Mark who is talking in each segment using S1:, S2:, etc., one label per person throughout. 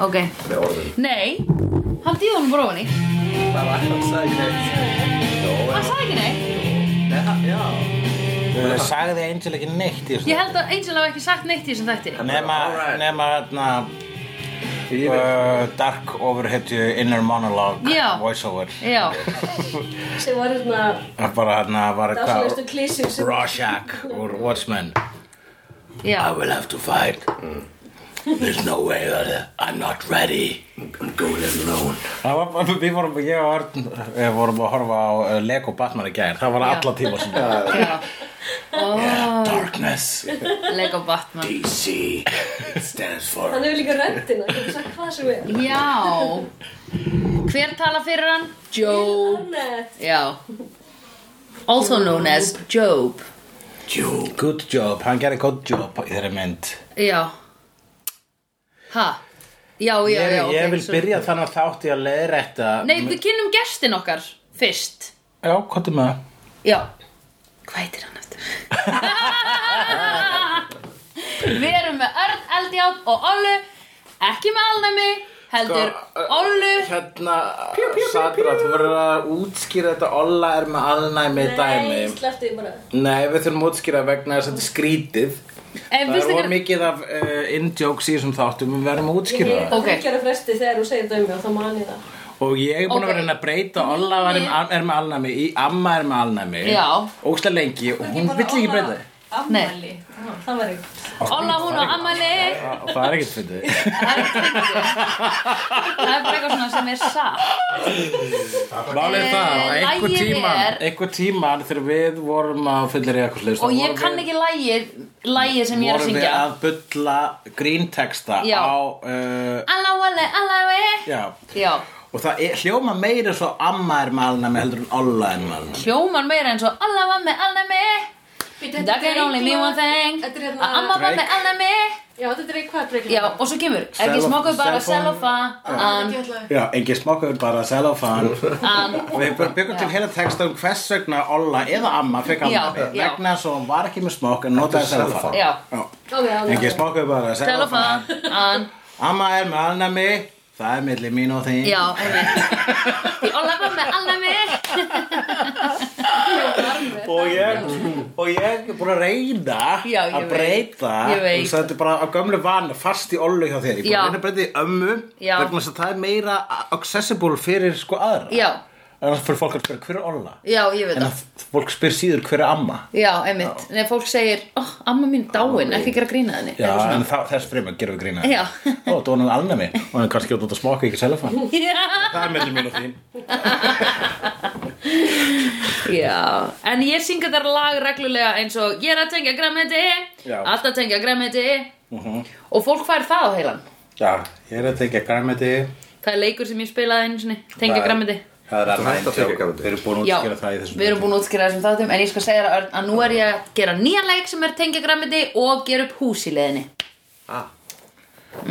S1: Ok.
S2: með orðum.
S1: Nei, hann dýði honum bara ofan í.
S3: Það var hann sagði ekki
S1: Hann sagði ekki neitt.
S3: neitt Já
S4: Það sagði Angel ekki neitt í þessu
S1: Ég held að Angel hafi ekki sagt neitt í þessum þætti.
S4: Nema,
S2: Alright.
S4: nema hérna
S3: Ég veit
S4: uh, Dark overhetju inner monologue
S1: Já.
S4: voiceover
S1: Já,
S5: sem var hérna
S4: Það bara hérna var
S5: dáslegastu klísjum sem
S4: Rorschach úr Watchmen
S1: já.
S4: I will have to fight There's no way that I'm not ready
S2: I'm going it alone.
S4: Það var, bara- við vorum, ég og Örn við vorum að horfa á uh, Lego Batman í gær það var
S1: Já.
S4: alla tíma sem
S1: Já.
S4: Darkness,
S1: Lego Batman.
S2: DC stands for
S5: hann hefur líka röndina, hann hefur sagt hvað sem er
S1: Já. Hver tala fyrir hann? Job.
S5: Annett,
S1: Já. Also known as Job.
S2: Joe.
S4: good job hann gerði good job í þeirri mynd
S1: Já. Ha? Já, já,
S4: ég,
S1: já. ok,
S4: ég vil
S1: svo-
S4: byrja þannig að þátti að leiðrætta
S1: Nei, við kynum gestin okkar fyrst.
S4: já, hvað er með það?
S1: Já. Hvað heitir hann eftir? Við erum með Örn Eldjátt og Ollu, ekki með alnæmi, heldur
S4: Sko,
S1: Ollu.
S4: hérna, Sandra, þú verður að útskýra þetta Olla er með alnæmi dæmi
S5: nei, slepptu því bara
S4: Nei, við þurfum að útskýra vegna þess að þetta er skrítið
S1: En
S4: Það
S1: fyrst
S4: er of
S1: ykkur,
S4: mikið af uh, indjóks í þessum þáttum Við verðum að
S5: ég
S4: útskýra
S5: hef
S4: það
S5: það
S1: Ok.
S5: fylgjara fresti þegar þú segir dæmi og þá man ég það
S4: Og ég er búin
S1: Ok.
S4: að vera að reyna að breyta Olla var um, er með alnæmi, í, amma er með alnæmi
S1: Já.
S4: Ógsta lengi og hún vill ekki breyta það
S1: nei,
S5: Ah, það var ég
S1: Olla hún á ammali.
S4: Og það er ekkert fyndið
S1: Það er ekki fyndið. Það er bara eitthvað svona sem er satt.
S4: Málið er það,
S1: Eh,
S4: einhver
S1: lagið
S4: tíman,
S1: er-
S4: einhver tíman þegar við vorum að fyllir í eitthvað slust
S1: Og ég kann ekki lægið, lægið sem ég er að
S4: Vorum við
S1: syngja.
S4: að bulla gríntexta
S1: Já.
S4: á uh,
S1: Alla Olli, alla Olli.
S4: Já
S1: Já,
S4: Og það er, hljóma meira svo amma er með alnæmi heldur en Olla er með alnæmi
S1: hljóman meira eins og Alla var með alnæmi. That can only mean one thing.
S5: Þetta er hérna-
S1: Að Amma var með
S4: Drake.
S1: alnæmi.
S5: já, þetta er eitthvað breyklið
S1: Já, og svo kemur Ekki
S4: Cellof-
S1: smokku bara
S4: cellphone.
S1: sellofan
S4: Já, engin smokkaður bara selofan Og við bara byggum til
S1: Já.
S4: heila texta um hvers vegna Olla eða amma fekk
S1: Já,
S4: alnæmi
S1: já.
S4: Vegna þess að hún var ekki með smokk en notaði selofan
S1: Já,
S5: ok,
S4: Engin
S5: ok,
S4: smokkaður bara selofan
S1: sellofan
S4: Amma er með alnæmi Það er milli mín og þín
S1: Já, einmitt Því Óla var með alnæmi
S4: Og ég, og ég er búin að reyna
S1: Já, ég
S4: að
S1: veit.
S4: breyta
S1: Ég veit.
S4: og þetta er bara að gömlu vana fast í ollu hjá þér Ég
S1: Já.
S4: er búin að reyna að breyta í ömmu
S1: Já.
S4: vegna þess að það er meira accessible fyrir sko aðra
S1: Já,
S4: Annars fyrir fólk að spyrja hver er olla
S1: já, ég veit
S4: En
S1: það
S4: að fólk spyr síður hver er amma
S1: Já, einmitt Nei, fólk segir "Ó, Amma mín dáin, ekki gera grína henni
S4: Já, en þá, þess fremur gerum við grína
S1: Já.
S4: Ó, það var nú alnæmi Og hann er kannski út að smoka ekki selefan
S1: Já,
S4: Það er mellum mín og þín
S1: já En ég syng þetta lag reglulega eins og Ég er að tengja græmiti
S4: Já. Mhm.
S1: Alltaf tengja græmiti Og fólk fær það á heilan
S4: Já, ég er að tengja græmiti
S1: Það er leikur sem ég spilaði einu sinni Tengja
S4: Það er-
S1: græmiti
S4: Það er
S2: alveg hægt að tengja grænmeti.
S4: Við erum búin að
S1: Já,
S4: útskýra það í þessum
S1: við erum búin að útskýra þessum þáttum en ég skal segja þér Örn, að nú er ég að gera nýjan leik sem er tengja græmiti og gera upp hús í leiðinni
S2: Ah,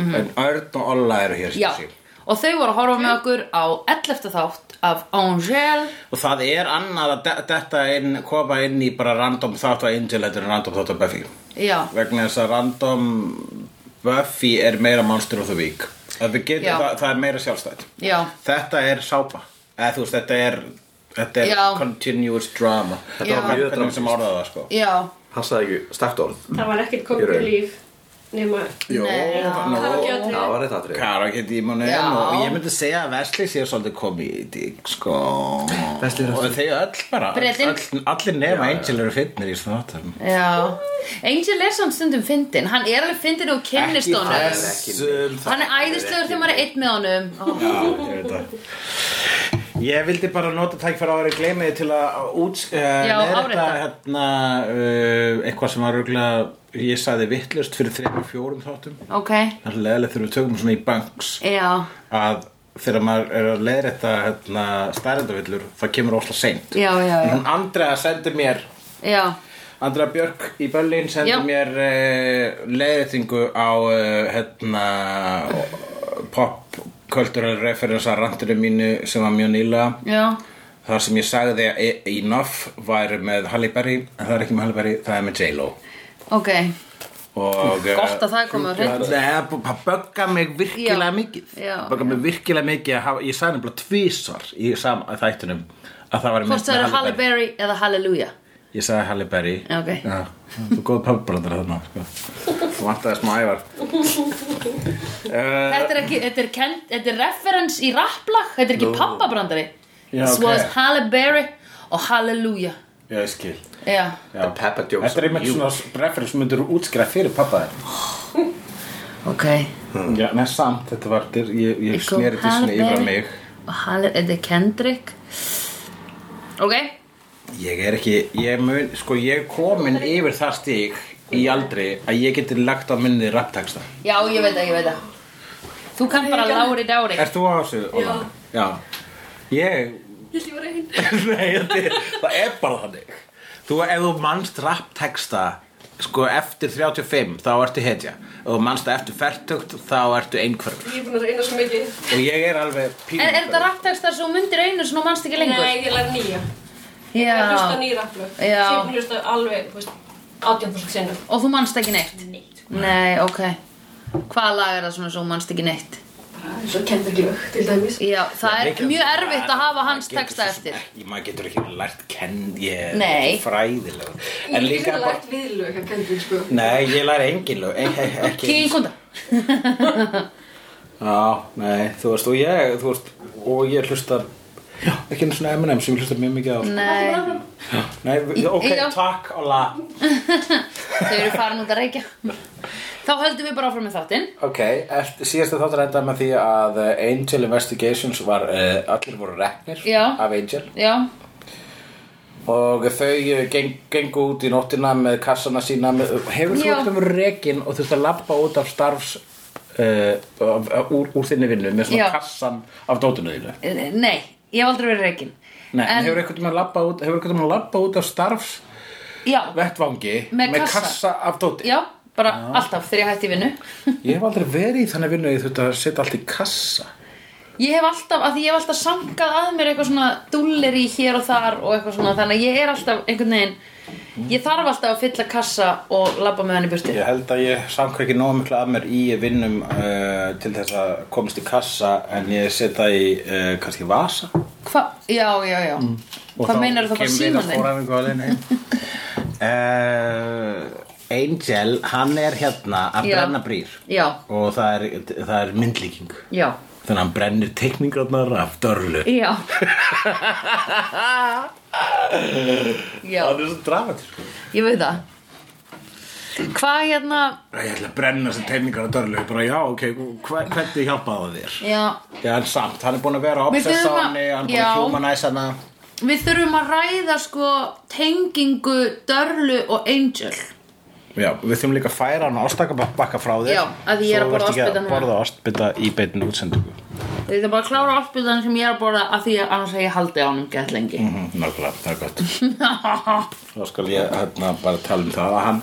S4: En Örn og Olla eru hér
S1: Já,
S4: síðan.
S1: og þau voru að horfa með okkur á 11. þátt af Angel
S4: Og það er annað að de- detta inn Kofa inn í bara random þátt á Angel Þetta er random þátt á Buffy
S1: Já,
S4: Vegna þess að random Buffy er meira Monster of the Week Það, getum,
S1: Já.
S4: það, það er meira sjálfstætt
S1: já,
S4: Þetta er sápa Eða þú veist, þetta er Þetta er
S1: Já.
S4: continuous drama Þetta
S1: Já.
S4: var hvernig
S2: Mjög
S4: hvernig sem orðaði það sko
S1: já
S2: hann sagði ekki stæft orð.
S5: það var ekkert komið
S2: Í raun.
S5: í líf nema
S4: Jó,
S1: Nei, já.
S4: nú
S5: karaokeatriði.
S2: Það var þetta atrið.
S4: Karaki dímonin
S1: Já.
S4: og ég myndi segja að Vesli sé svolítið komítik sko
S2: Wesley er
S4: og þeir öll bara
S1: Bretinn.
S4: öll, allir nema Angel eru fyndnir í svona þáttum
S1: Já, Angel er samt stundum fyndin Hann er alveg fyndin og kynnist honum
S4: þessum
S1: Hann er æðislegur þegar maður er einn með honum Ó,
S4: Já, ég veit það Ég vildi bara nota tækfæra ára að gleymi þið til að út, uh,
S1: Já, árétta.
S4: hérna, uh, eitthvað sem var örgulega ég sagði vittlust fyrir þreymur fjórum þáttum
S1: Ok,
S4: Það er leðilegt þegar við tökum svona í banks
S1: já,
S4: að þegar maður er að leiðrætta hérna, stærendavillur það kemur ósla seint
S1: já, já,
S4: En
S1: já,
S4: hún Andrea sendi mér
S1: já.
S4: Andrea Björk í Berlín sendi
S1: Já.
S4: mér uh, leiðrætingu á uh, hérna pop kulturell referensa randinu mínu sem var mjög nýla
S1: Já,
S4: þar sem ég sagði að E- Enough væri með Halle Berry en það er ekki með Halle Berry, það er með J-Lo
S1: ok
S4: og eh,
S1: Gott að það komi á hreint.
S4: Nei, það bú- það bögga mig virkilega
S1: Já.
S4: mikið
S1: Já,
S4: bögga mig virkilega mikið að hafa, ég sagði nefnilega tvísvar í sama þættunum að það var
S1: Hvort það eru Halle Berry eða Hallelujah
S4: Ég sagði Halle Berry
S1: Já, ok.
S4: Þú er góð pöpbrandar þarna sko. Þú vantaði smá ævar uh,
S1: Þetta er ekki, þetta er, kend, þetta er reference í rapplag Þetta er ekki pappabrandari
S4: Já,
S1: This
S4: ok.
S1: was Halle Berry og Hallelujah
S4: Já, ég skil
S1: Já,
S4: Já.
S2: Peppa Jones
S4: Þetta er einmitt
S2: Jú.
S4: svona referens sem myndir útskrifa fyrir pappa þér
S1: ok
S4: Já, neð samt, þetta var dyr, ég, ég
S1: Ég kom
S4: sneri þetta svona yfir á
S1: Halle
S4: mig
S1: Og Halle, þetta er Kendrick Ok,
S4: Ég er ekki, ég mun, sko ég er komin yfir það stík í aldri að ég geti lagt á minni rapptaksta
S1: já, ég veit það, ég veit það Þú kann bara lári dári
S4: Ert þú á þessu? Óla? Já Ég,
S5: Ég lífa reyn.
S4: nei, þetta er- það er bara þannig Þú, ef þú manst rapptaksta sko eftir 35 þá ertu hetja og þú manst það eftir fertugt þá ertu einhverfur
S5: Ég er búin að reyna svo mikið.
S4: og ég er alveg pínu
S1: Er, er þetta rapptekstar svo myndir einu sem þú manst ekki lengur?
S5: Nei, ég lær nýja. Ég er að hlusta
S1: Já,
S5: nýra aflöf.
S1: Já.
S5: Ég er búin að hlusta alveg, þú veist, 18% sinnum.
S1: og þú manst ekki neitt?
S5: Neitt.
S1: Nei, ok Hvaða lag er það svona sem þú manst ekki neitt?
S5: Bara eins og kendur ekki lög, til dæmis.
S1: Já, það er
S4: Mikið-
S1: mjög erfitt að hafa hans
S4: Maður getur
S1: texta
S4: svo sem
S1: eftir
S4: ekki- Maður getur ekki lært kenn ég
S1: Nei.
S4: fræðilega En
S5: Ég
S4: líka
S5: hef
S4: bara
S5: lært viðlög að kendur, sko.
S4: Nei, ég læri engin lög e e ekki.
S1: King Kunda
S4: Já, nei, þú veist, og ég þú veist, og ég hlusta Já, ekki einu svona M&M sem ég hlusta mjög mikið á sko.
S1: Nei,
S4: Nei, við- ok,
S1: Já.
S4: takk og la
S1: þau eru farin út að reykja Þá höldum við bara áfram með þáttinn
S4: Ok, eftir, síðasta þáttur endaði með því að eh, Angel Investigations var, uh, allir voru reknir
S1: Já.
S4: af Angel
S1: Já,
S4: og þau eh, geng, gengu út í nóttina með kassana sína með, hefur þú
S1: Já.
S4: ekki verið rekin og þurft að labba út af starfs uh, af, af, úr, úr þinni vinnu með svona
S1: Já.
S4: kassan af dótinu þínu
S1: Eh, nei, ég hef aldrei verið reikin
S4: Nei, en, hefur einhvern tímann labba út hefur einhvern tímann labba út af starfs
S1: Já,
S4: vettvangi
S1: Með kassa.
S4: af dóti
S1: já, bara alltaf þegar ég hætti í vinnu
S4: ég hef aldrei verið í þannig vinnu að ég þurft að setja allt í kassa
S1: Ég hef alltaf, að því ég hef alltaf samkað að mér eitthvað svona dulleri hér og þar og eitthvað svona Þannig að ég er alltaf einhvern
S4: Mhm.
S1: veginn Ég þarf alltaf að fylla kassa og labba með hann í burtu
S4: ég held að ég samkvæm ekki nóg mikla af mér í vinnum uh, til þess að komast í kassa en ég setja í uh, kannski vasa
S1: Hva? Já, já, já
S4: Mm.
S1: Hvað meinar þú það síman þinn?
S4: þinn? Uh, Angel, hann er hérna að
S1: Já.
S4: brenna brýr
S1: Já,
S4: og það er, það er myndlíking
S1: já,
S4: þannig að hann brennir teikningarnar af dörlu
S1: já Já,
S4: það er svo sko. dramatísk
S1: ég veit það Hvað hérna
S4: ég ætla að brenna þessar teikningar af dörlu bara já, ok, hva, hvernig hjálpaði það þér?
S1: Já,
S4: Já, en samt, hann er búin að vera að
S1: Við
S4: obsessa
S1: þurfum að-
S4: hann hann er búin
S1: Já.
S4: að humanæsa hana
S1: við þurfum að ræða sko tengingu Dörlu og Angel
S4: Já, við þurfum líka að færa hann ástakabakka frá þér
S1: Já, af því ég er að
S4: Svo
S1: borða
S4: vertu ekki
S1: ostbita núna.
S4: borða ástbytta í beinni útsendingu
S1: Við ætlum bara að klára áspildan sem ég er að borða af því að annars hef ég haldið á honum gett lengi
S4: Mhm, Nákvæmlega, það er gott Þá skal ég hérna bara tala um það að hann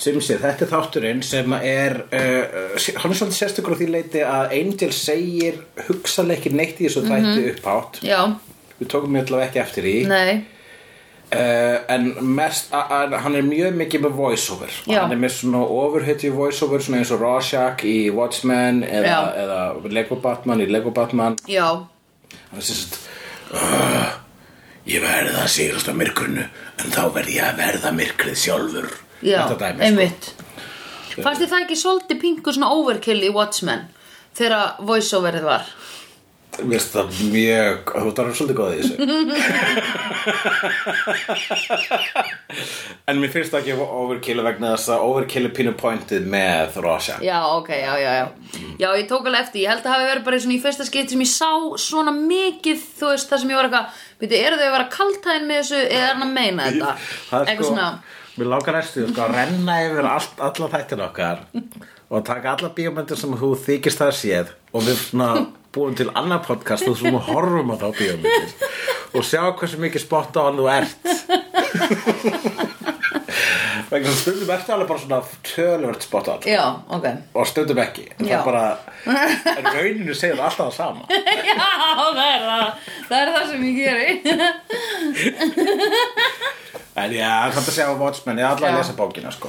S4: sem sé, þetta er þátturinn sem er uh, uh, hann er svolítið sérstakur á því leiti að Angel segir hugsanlega ekki neitt í þessu þætti upphátt
S1: Mhm. Já,
S4: við tókum mjög allavega ekki eftir í
S1: nei,
S4: uh, en mest a, a, hann er mjög mikið með voiceover og
S1: Já.
S4: hann er með svona overhitju voiceover svona eins og Rorschach í Watchmen eða,
S1: Já.
S4: eða Lego Batman í Lego Batman
S1: já,
S4: hann er sérst uh, ég verði að sigrast á myrkrinu en þá verði ég að verða myrkrið sjálfur
S1: já,
S4: Þetta dæmi, sko.
S1: einmitt Fannst þið það ekki svolítið pingu svona overkill í Watchmen þegar voiceoverið var?
S4: sko. mér finnst það mjög þú þarf svolítið góð í þessu en mér finnst það ekki overkill vegna þess að overkill er pínu pointið með Rorschach
S1: Já, ok, já, já, já Já, ég tók alveg eftir, ég held að hafi verið bara í svona í fyrsta skipti sem ég sá svona mikið þú veist, það sem ég var eitthvað Veitu, eru þau að vera kaltæðin með þessu eða er hann að meina þetta?
S4: Það er sko-
S1: Eitthvað svona
S4: Mér lákar næstu sko, að renna yfir allt, alla þættin okkar og taka alla bíómyndir sem þú þykist það séð og við svona búum til annað podcast og svona horfum á þá bíómyndir og sjá hversu mikið spott á hann þú ert vegna þess að stundum ertu alveg bara svona tölvert spott á hann
S1: Já, ok
S4: og stundum ekki En það
S1: Já.
S4: er bara en rauninu segir það alltaf það sama
S1: Já, það er það Það er það sem ég geri
S4: en já, kannski að segja á Watchmen ég er allavega að
S1: Já.
S4: lesa bókina sko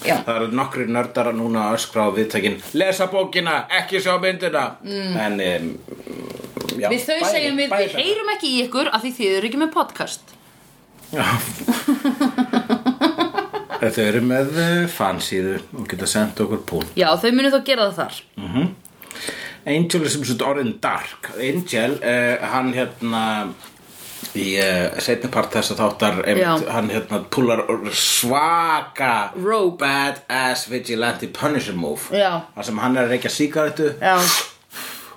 S1: Já.
S4: það eru nokkri nördar núna að öskra á viðtækin lesa bókina, ekki sjá myndina mm. en um, já,
S1: Við þau
S4: bæði-
S1: segjum við,
S4: bæði
S1: við heyrum ekki í ykkur af því þið eru ekki með podcast
S4: Já. Þau eru með uh, fansíðu og geta sendt okkur pún
S1: Já, þau munu þá gera það þar
S4: Mhm. Angel er sem svo orðin dark Angel, uh, hann hérna í uh, setni part þess að þáttar einmitt,
S1: Já.
S4: hann hérna púlar svaka
S1: Rogue.
S4: bad ass vigilante punisher move
S1: Já.
S4: þar sem hann er að reykja sígarettu
S1: Já,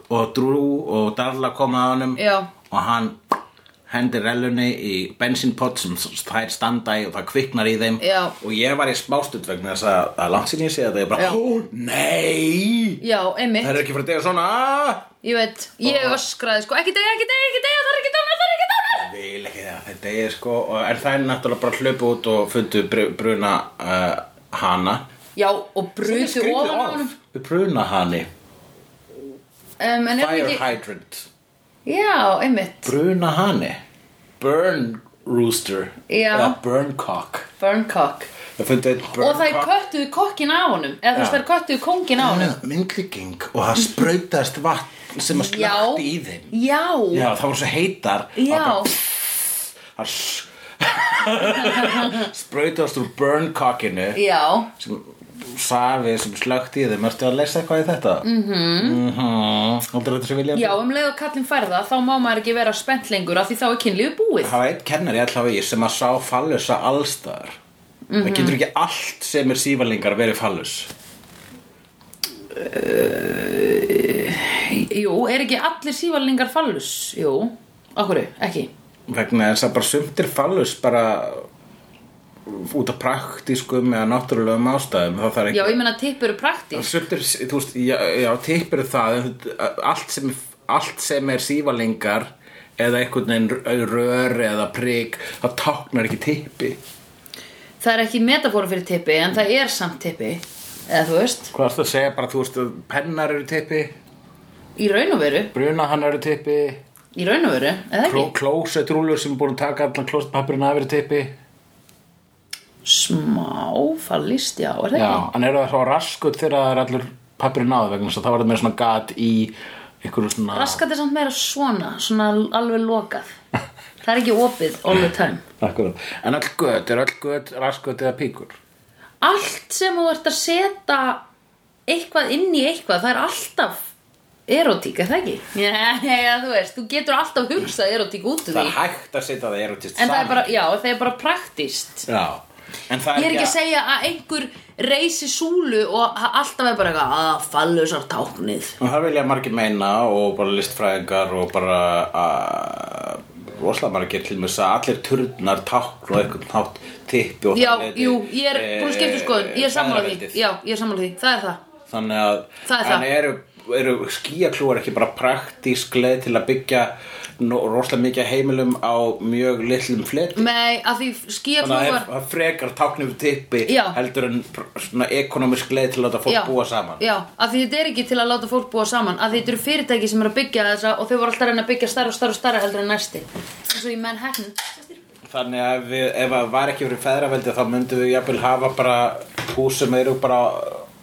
S4: og Drew og Darla koma að honum
S1: Já.
S4: og hann hendir relunni í bensinpott sem þær standa í og það kviknar í þeim
S1: Já.
S4: og ég var í smástund vegna þess að, að langt sinni ég sé að það er bara
S1: Já.
S4: ó nei,
S1: já, einmitt
S4: það er ekki fyrir að dega svona
S1: Ég veit, ég öskraði sko Ekki degja, ekki degja, ekki degja, það er ekki dánar, það er ekki dánar
S4: ég vil ekki það þetta er sko og er það náttúrulega bara hlaupa út og fundu br bruna uh, hana
S1: Já, og brutu
S4: Skrýtið
S1: ofan á
S4: orð.
S1: honum
S4: bruna hani,
S1: um, En er
S4: fire
S1: ekki
S4: hydrant
S1: Já, einmitt
S4: bruna hani burn rooster
S1: Já.
S4: eða burn cock
S1: Burncock
S4: Það fundi eitt
S1: Og þær köttuðu kokkin á honum Eða þú veist,
S4: Já.
S1: þær köttuðu kongin á honum
S4: myndlíking og það sprautast vatn sem að
S1: Já,
S4: slökti í þeim
S1: já,
S4: Já, það voru svo heitar að
S1: já
S4: það- það sprautast úr burncockinu
S1: Já,
S4: sem safi sem slökti í þeim Ertu að lesa eitthvað í þetta? Mhm mm Aldrei þetta sem vilja
S1: Mm-hmm. já, um leið og kallinn færða þá má maður ekki vera spennt lengur af því þá er kynlífi búið
S4: Það var eitt kennari alltaf í sem að sá fallusa allstaðar
S1: Mm-hmm.
S4: Það getur ekki allt sem er sívalingar verið fallus
S1: Jú, er ekki allir sívalningar fallus? Jú, okkur, ekki
S4: vegna þess að bara sumtir fallus bara út af praktískum eða náttúrulegum ástæðum þá þarf
S1: Já,
S4: ekki
S1: ég meina tipp eru praktísk
S4: sumtir, þú veist, já, já tippir það en allt sem, allt sem er sívalingar eða einhvern veginn rör eða prik það táknar ekki tippi
S1: Það er ekki metafóra fyrir tippi en það er samt tippi eða þú veist,
S4: hvað er það að segja bara, þú veist, pennar eru tippi
S1: í raun og veru
S4: bruna hann eru tippi
S1: í raun og veru, eða ekki
S4: kló, klósetrúlur sem er búin að taka allan klósetpappirinn af eru tippi
S1: smá fallist, já, er það ekki
S4: Já, en eru það svo raskut þegar það er allur pappirinn áður vegna þess að það var það meira svona gat í einhverju svona
S1: Raskat er samt meira svona, svona alveg lokað Það er ekki opið all the time
S4: Akkurat. En all gött, er all gött raskut eða píkur?
S1: Allt sem þú ert að setja eitthvað inn í eitthvað, það er alltaf erotík, er það ekki? Já, já, þú veist, þú getur alltaf hugsað erotík út úr því
S4: Það er hægt að setja það erotist
S1: En það er bara, já, það er bara praktist
S4: Já, en það
S1: Ég
S4: er
S1: er ekki að segja að einhver reysi súlu og ha- alltaf er bara eitthvað að fallusar táknið
S4: Og það vilja margir meina og bara listfræðingar og bara að rosalega margir til með að allir turnar tákn og einhvern hátt tippi og
S1: Já,
S4: það leiti,
S1: jú, ég er búin að skipta um
S4: eh,
S1: skoðun, ég er sammála því
S4: feðraveldið.
S1: Já, ég er sammála því, það er það
S4: þannig að
S1: Það er það.
S4: en eru, eru skíaklúar ekki bara praktísk leið til að byggja nó- rosalega mikið af heimilum á mjög litlum fleti
S1: Nei, að því
S4: þannig að
S1: skíaklúar
S4: það er frekar táknum tippi
S1: Já.
S4: heldur en pr- svona ekonomisk leið til að þetta fólk búa saman
S1: Já, að því þetta er ekki til að láta fólk búa saman að því þetta eru fyrirtæki sem eru að byggja þessa og þau voru alltaf að reyna að byggja starra og starra og starra heldur en næsti eins og í Manhattan
S4: þannig að ef við, ef það var ekki fyrir feðraveldi þá myndum við jafnvel hafa bara hús sem eru bara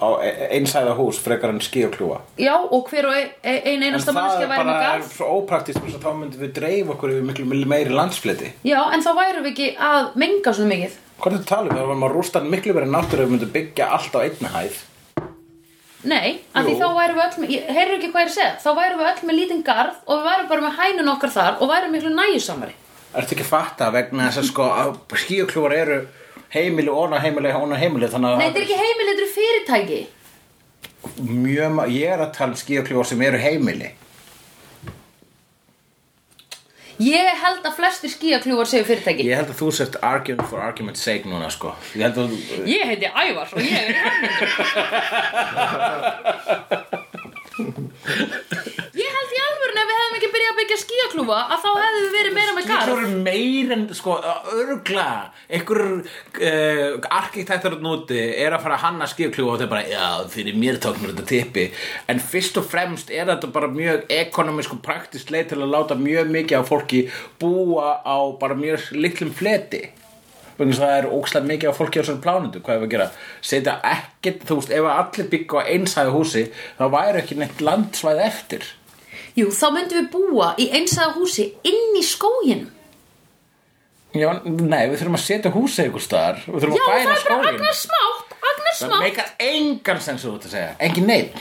S4: á e- einsæða hús frekar en skíaklúa
S1: Já, og hver og ein, ein
S4: en
S1: einasta
S4: það
S1: mannskja
S4: er
S1: væri með
S4: bara
S1: garð
S4: svo ópraktísk þess að þá myndum við dreif okkur yfir miklu meiri landsfleti
S1: Já, en þá værum við ekki að menga svona mikið
S4: Hvað er þetta talum? Það varum að rústa hann miklu verið náttúru ef við myndum byggja allt á einni hæð.
S1: Nei, af því
S4: Jú.
S1: þá værum við öll með, ég- heyrðu ekki hvað ég er að segja, þá værum við öll með lítinn garð og við værum bara með hænun okkar þar og værum miklu nægjusamari.
S4: Ertu ekki að fatta vegna þess að sko að skíuklúar eru heimili, óna heimili, óna heimili þannig að
S1: Nei, þetta er ekki heimil, þetta eru fyrirtæki.
S4: mjög ma- ég er að tala um skíuklúar sem eru heimili.
S1: Ég held að flestir skíakljúar séu fyrirtæki.
S4: Ég held að þú sért argument for argument's sake núna sko. Ég held að þú...
S1: Ég heiti Ævar og ég er Hermundur. ég held í alvörun ef við hefðum ekki byrjað að byggja skíakljúa að þá hefðum við verið meira með garð.
S4: Skíuklúar eru meir en sko örgla einhver uh, arkitektur út núti er að fara að hanna skíuklúa og þetta er bara já fyrir mér tóknur þetta tippi en fyrst og fremst er þetta bara mjög ekonomisk og praktist leið til að láta mjög mikið af fólki búa á bara mjög litlum fleti vegna þess að það er ókslega mikið af fólki á svona plánundu, hvað er að gera setja ekkert, þú veist, ef að allir byggja á einsæðu húsi, þá væri ekki neitt landsvæð eftir
S1: Jú, þá myndum við búa í einsæða húsi inn í skógin
S4: Já, nei, við þurfum að setja húsi ykkur staðar, við þurfum
S1: Já, það
S4: að færa
S1: er bara
S4: skólin
S1: agnar smátt, agnar
S4: Það
S1: smátt
S4: meikar engan sens þú ert að segja, engin neitt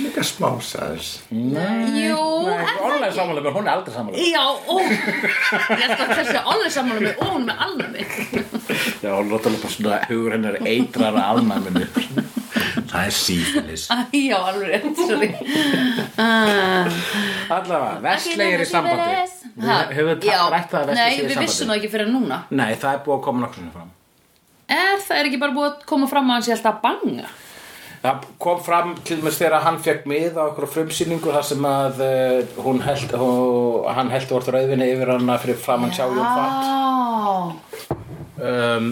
S2: Líka smá sæðis
S1: Jú, er
S4: Nei,
S1: það
S4: Online sammála mér, hún er aldrei sammála mér.
S1: Já, ó, ég ætla að þessi alveg sammála með og hún með alnami
S4: Já, hún er náttúrulega bara svona hugur hennar eitrar að afnæminu Það er sífilis
S1: Já, alveg rétt, sorry uh,
S4: Allavega,
S1: Ah.
S4: Vestley er í sambandi Við höfum
S1: Já,
S4: ta- rætt það
S1: nei,
S4: að Vestley sé í
S1: við vissum
S4: sambandi
S1: það ekki fyrir núna
S4: Nei, það er búið að koma nokkur sinni fram
S1: Er það er ekki bara búið að koma fram að hann sé alltaf að banga?
S4: Það kom fram til dæmis þegar hann fekk mið á okkur frumsýningu þar sem að uh, hún held, hún, hann held orð rauðvinni yfir hana fyrir framann sjá Jón
S1: Já,
S4: Fatt um,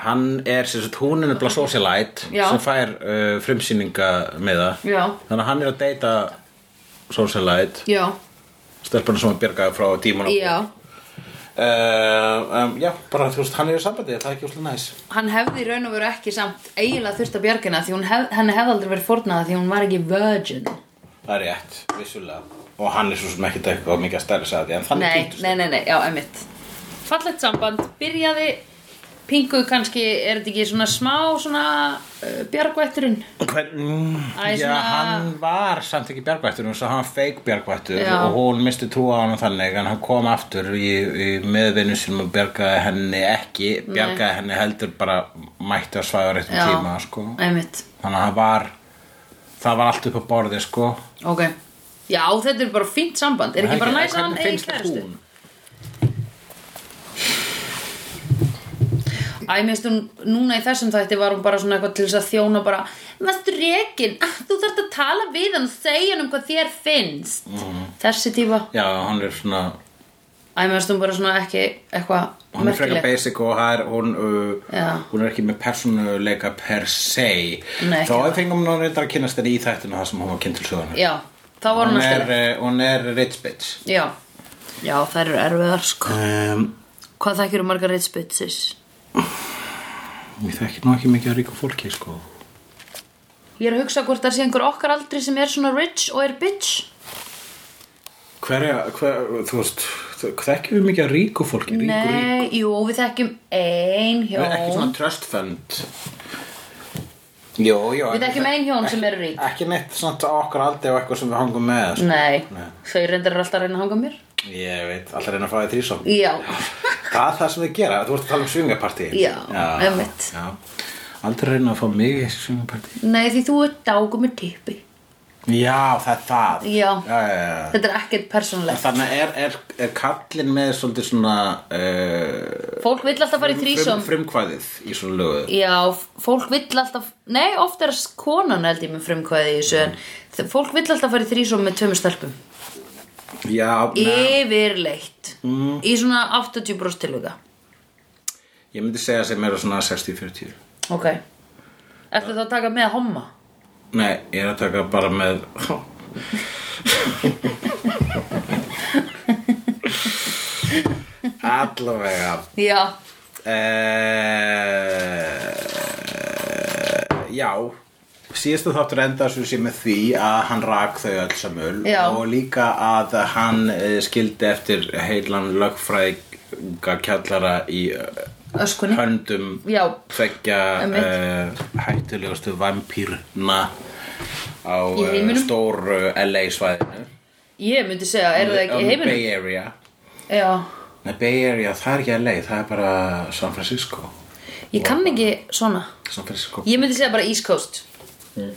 S4: Hann er, sem sagt, hún er nefnilega socialite
S1: Já.
S4: sem fær uh, frumsýninga með það
S1: já,
S4: Þannig að hann er að deyta socialite
S1: já,
S4: stelpunum sem að bjargaði frá tímanum
S1: já
S4: um, Já, bara þú veist, hann er í sambandi það er ekki úslega næs
S1: Hann hefði í raun og veru ekki samt eiginlega þurft að bjargina því hún hef, henni hefði aldrei verið fórnaða því hún var ekki virgin
S4: Það er rétt, vissulega og hann er svo sem ekkert eitthvað mikið að stærra sig að því en þannig
S1: Nei,
S4: kynntust
S1: nei, nei, nei, já, emitt Fallegt samband, byrjaði pingu kannski, er þetta ekki svona smá svona uh, bjargvætturinn
S4: Hvern, mm,
S1: Æ,
S4: já,
S1: svona-
S4: hann var samt ekki bjargvættur og svo hann feik bjargvættur
S1: Já.
S4: og hún misti trúa á hann þannig en hann kom aftur í, í meðvinnu sinum og bjargaði henni ekki bjargaði henni heldur bara mætti að svæða réttum
S1: Já.
S4: tíma sko.
S1: Emitt,
S4: þannig að hann var það var allt upp á borði sko.
S1: ok Já, þetta er bara fínt samband, er ekki bara næs að hann eigi kæristu? Æ, mér finnst hún, núna í þessum þætti var hún bara svona eitthvað til þess að þjóna bara Vastu rekin, þú þarft að tala við hann og segja hann um hvað þér finnst
S4: Mhm.
S1: Þessi tífa
S4: Já, hann er svona
S1: Æ, mér finnst hún bara svona ekki eitthvað
S4: Hún er frekar
S1: merkileg
S4: basic og það er, hún, uh,
S1: Já.
S4: hún er ekki með persónuleika per se
S1: Nei, ekki
S4: Þá
S1: það.
S4: fengum hún reyndar að kynast henni í þættinu það sem hún var kynnt til söguna
S1: Já, þá var hún
S4: hún,
S1: að
S4: er,
S1: stela
S4: eh, hún er rich bitch
S1: Já, já, þær eru erfiðar sko
S4: um,
S1: Hvað þekkir um margar reitspitsis?
S4: Ég þekki nú ekki mikið að ríka fólki sko
S1: Ég er að hugsa hvort það sé einhver okkar aldri sem er svona rich og er bitch
S4: Hverja, hver, þú veist Þekkjum við mikið að ríku fólki ríku, ríku.
S1: Nei, jú, við þekkjum ein
S4: Það er Ekki
S1: hjón
S4: svona trust fund Jó, jó
S1: Við þekkjum ein hjón sem eru rík
S4: Ekki neitt svona á okkar aldrei og eitthvað sem við hangum með sko.
S1: Nei,
S4: Nei.
S1: þau reyndar eru alltaf að reyna að hanga mér
S4: Ég veit, alltaf reyna að fá því þrísom
S1: Já,
S4: Það er það sem þið gera, þú ert að tala um svingapartí
S1: Já, einmitt.
S4: já. Aldrei reyna að fá mig í svingapartí
S1: nei því þú ert dágu með tippi
S4: Já, það er það
S1: Já.
S4: já, já, já.
S1: Þetta er ekkert persónulegt
S4: Þannig er, er, er kallinn með svolítið svona uh,
S1: Fólk vill alltaf fara í þrísom
S4: frumkvæðið í svona lögu
S1: Já, fólk vill alltaf Nei, oft er konan held ég með frumkvæði í þessu en þ- Fólk vill alltaf fara í þrísom með tömur stelpum
S4: Já, neð,
S1: Yfirleitt Í svona 80 bros tilhuga
S4: ég myndi segja sem eru svona 60-40
S1: Ok Ertu þá að taka með homma?
S4: Nei, ég er að taka bara með Allavega
S1: Já,
S4: uh, Eh, já síðastu þáttur enda svo sé með því að hann rak þau öll samul
S1: Já.
S4: og líka að hann eh, skildi eftir heilan lögfræðinga kjallara í eh,
S1: öskunni
S4: höndum
S1: Já.
S4: tvekja
S1: Einmitt.
S4: uh, hættulegustu vampýrna á
S1: Í
S4: uh,
S1: heiminum.
S4: stóru LA svæðinu
S1: Ég myndi segja, eru það ekki í
S4: Um,
S1: heiminum?
S4: Bay Area
S1: Já,
S4: Nei, Bay Area, það er ekki LA, það er bara San Francisco
S1: ég kann ekki svona
S4: San Francisco
S1: Ég myndi segja bara East Coast
S4: Hmm.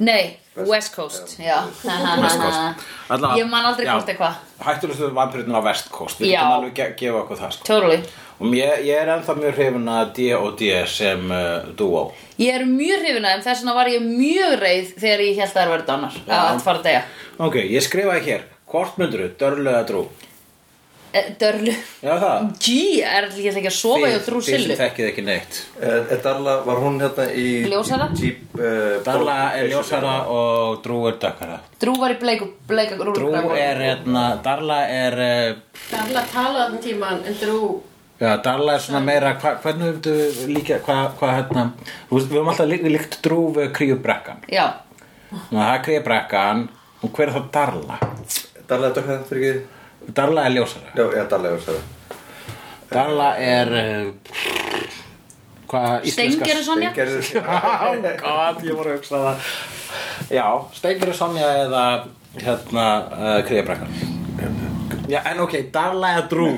S1: Nei, West Coast Já,
S4: West Coast Alla,
S1: Ég man aldrei hvort eitthvað.
S4: Hættulegustu vampirinn á West Coast Við
S1: Já.
S4: getum alveg ge gefa okkur það sko.
S1: Totally
S4: Og ég, ég er ennþá mjög hrifin að D og D sem uh, duo
S1: Ég er mjög hrifin aðeim, þess vegna var ég mjög reið þegar ég held að það er verið dánar að fara að deyja
S4: Ok, ég skrifaði hér Hvort myndur, dörlu eða drú
S1: eh, Dörlu
S4: Já, það.
S1: Gí, er allir ekki að sofa hjá þrú
S4: Þið
S1: sillu
S4: sem þekkið ekki neitt.
S2: Eh, eh, Darla, var hún hérna í...
S1: Ljósara?
S2: Jeep, uh,
S4: Darla er ljósara og Drú er dökkara.
S1: Drú var í bleik og bleik og
S4: Drú er, hérna, Darla er, eh,
S5: Darla talaði þann tíman en drú
S4: já, Darla er svona meira, hva, hvernig hefðu líka, hvað, hvað, hérna, þú veist, við höfum alltaf líkt, líkt Drú við kríubrekkan.
S1: Já,
S4: Nú, það er kríubrekkan og hver er það Darla?
S2: Darla er dökkað fyrir ekki...
S4: Darla er ljósara.
S2: Já, já, Darla er ljósara.
S4: Darla er, eh, hvað, íslenska
S1: Steingerður Sonja
S2: Gerður...
S4: Oh God, ég voru að hugsa það Já, Steigur og Sonja eða hérna, uh, Kríabrekkan Já, en ok, Darla eða Drú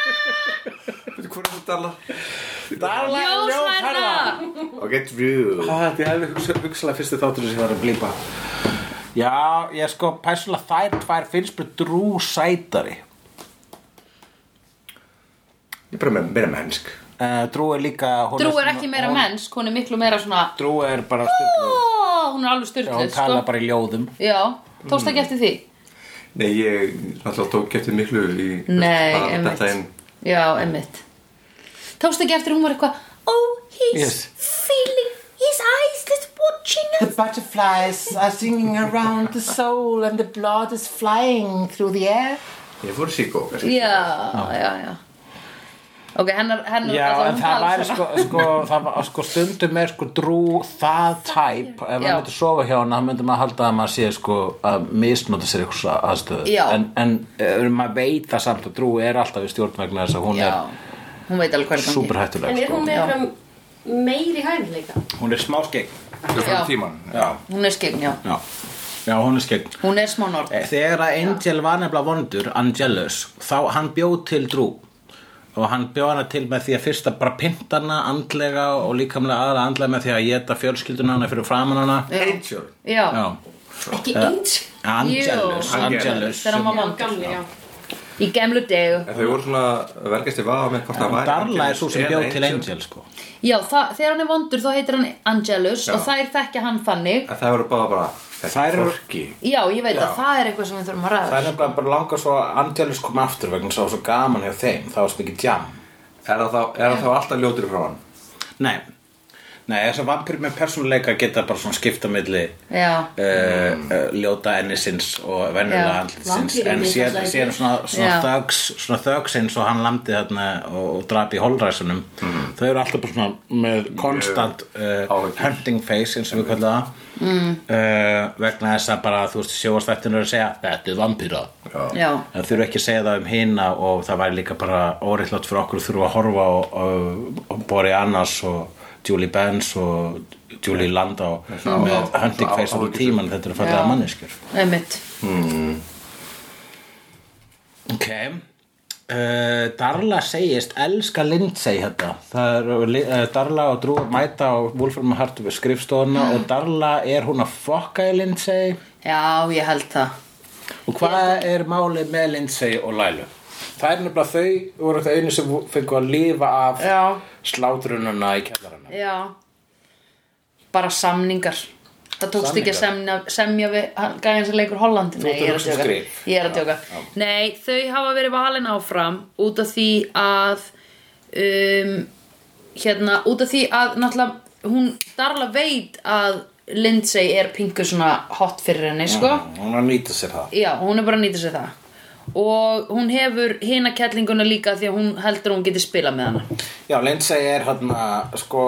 S2: Veitu, Hvor er það Darla?
S4: Darla eða Ljósherra
S1: Ljósverða
S2: Ok, Drew.
S4: Ég hefði hugsað hugsa fyrstu þátturinn sem var að blípa Já, ég sko, pæsulega þær tvær finnst mér Drú sætari
S2: Ég er bara með meira mennsk.
S4: uh, Drú er líka hún
S1: Drú er
S4: svona-
S1: ekki meira
S4: hún-
S1: mennsk, hún er miklu meira svona
S4: Drú er bara styrlu
S1: Ó, Hún er alveg
S4: Hún
S1: styrtluð
S4: tala
S1: sko.
S4: bara í ljóðum
S1: Já, tókst ekki eftir því
S2: Nei, ég alltaf tók getið miklu í...
S1: Nei,
S2: bara
S1: einmitt
S2: Þetta einn...
S1: Já, einmitt Tókst ekki eftir hún var eitthvað Oh, he's
S4: Yes.
S1: feeling His eyes is watching us
S6: The butterflies are singing around the soul, and the blood is flying through the air.
S2: Ég fór í síkó, kannski.
S1: Já, já, já Ok, hennar, hennar
S4: Já, en
S1: hún
S4: það
S1: talar
S4: væri
S1: svona.
S4: sko, sko, það var, sko stundum er sko drú það tæp ef
S1: Já.
S4: maður myndi sofa hjá hana, þá myndi maður halda að maður sé sko að misnota sér eitthvað svo aðstöðu
S1: Já.
S4: en, en ef maður veit það samt að drú er alltaf í stjórn vegna þess að hún
S1: Já, hún veit alveg hvað
S4: er
S1: er í gangi
S5: En
S4: superhættuleg
S5: er
S4: sko.
S5: hún með eitthvað meiri hæfileika?
S4: hún er smá skegg
S2: Þú um fór
S1: Já.
S2: í tíman.
S4: já.
S1: Hún er skegn, já
S4: Já. já, hún er skegg
S1: Hún er smá nord
S4: Eh, Þegar að Angel var nefnilega vondur, Angelus, þá hann bjóð til drú og hann bjóð hana til með því að fyrst að bara pynta hana andlega og líkamlega aðra andlega með því að geta fjölskylduna hana fyrir framan hana.
S2: Angel.
S1: Já,
S4: Já.
S5: Ekki eins
S4: Angelus,
S1: Jú.
S4: Angelus.
S1: þegar hann var
S5: Já,
S1: vond
S5: gamli, já
S1: Í gemlu degu
S2: En þau voru svona að verkast í vafa með hvort það væri...
S4: Darla er svo sem
S2: eða
S4: bjóð til Angel, sko.
S1: Já, það, þegar hann er vondur þá heitir hann Angelus og þær þekkja hann þannig
S2: En það voru bara bara...
S4: Þær eru-
S2: Fólki.
S1: Já, ég veit
S2: Já.
S1: að það er eitthvað sem við þurfum að ræða
S4: er nefnilega bara langa svo að Angelus kom aftur vegna svo, svo gaman hjá þeim, það var svo mikið jam.
S2: Er það þá- er það þá alltaf ljótur frá hann?
S4: Nei, nei þessar vampir með persónuleika geta bara svona skipta milli
S1: Já,
S4: uh, uh, ljóta ennisins og venjulega
S1: Já.
S4: andlitsins
S5: Vampírur
S4: en
S5: mér
S4: síðan
S5: falla ekki.
S4: síðan svona, svona
S1: Já.
S4: þögs svona þögs eins og hann landi þarna og, og drap í holræsunum þau eru alltaf bara svona með konstant uh,
S2: Áhyggjur.
S4: hunting face eins og við kallum það mm. vegna þess að bara þú veist sjóastættinu eru að segja þetta er vampíra
S2: Já.
S1: já,
S4: en þurfa ekki að segja það um hina og það væri líka bara óreittlátt fyrir okkur að þurfa að horfa á, á, á Bori Annars og Julie Benz og Julie Landa og með hunting face allan tíman þetta er að
S1: Já.
S4: falla að manneskjur
S1: einmitt
S4: ok uh, Darla segist elska Lindsay þetta það er uh, Darla og Drú mæta og Wolfram Hart við skrifstofuna og Darla er hún að fokka í Lindsay
S1: Já, ég held það
S4: Og hvað er málið með Lindsay og Lailu? Það er nefnilega þau voru það einu sem fengu að lifa af
S1: Já.
S4: slátrununa í kjallarana.
S1: Já Bara samningar Það tókst ekki að semja, semja við hann- gæjan sem leikur Holland Nei,
S4: ert
S1: ég
S4: að
S1: er að
S4: hugsa um
S1: tjóka,
S4: skrif.
S1: ég er að tjóka. Nei, þau hafa verið valin áfram út af því að um, hérna, út af því að náttúrulega hún Darla veit að Lindsay er pingu svona hot fyrir henni, sko
S4: Hún er að nýta sér það.
S1: Já, hún er bara að nýta sér það og hún hefur hina kettlinguna líka því að hún heldur að hún geti spilað með hana
S4: Já, Lindsay er hérna, sko,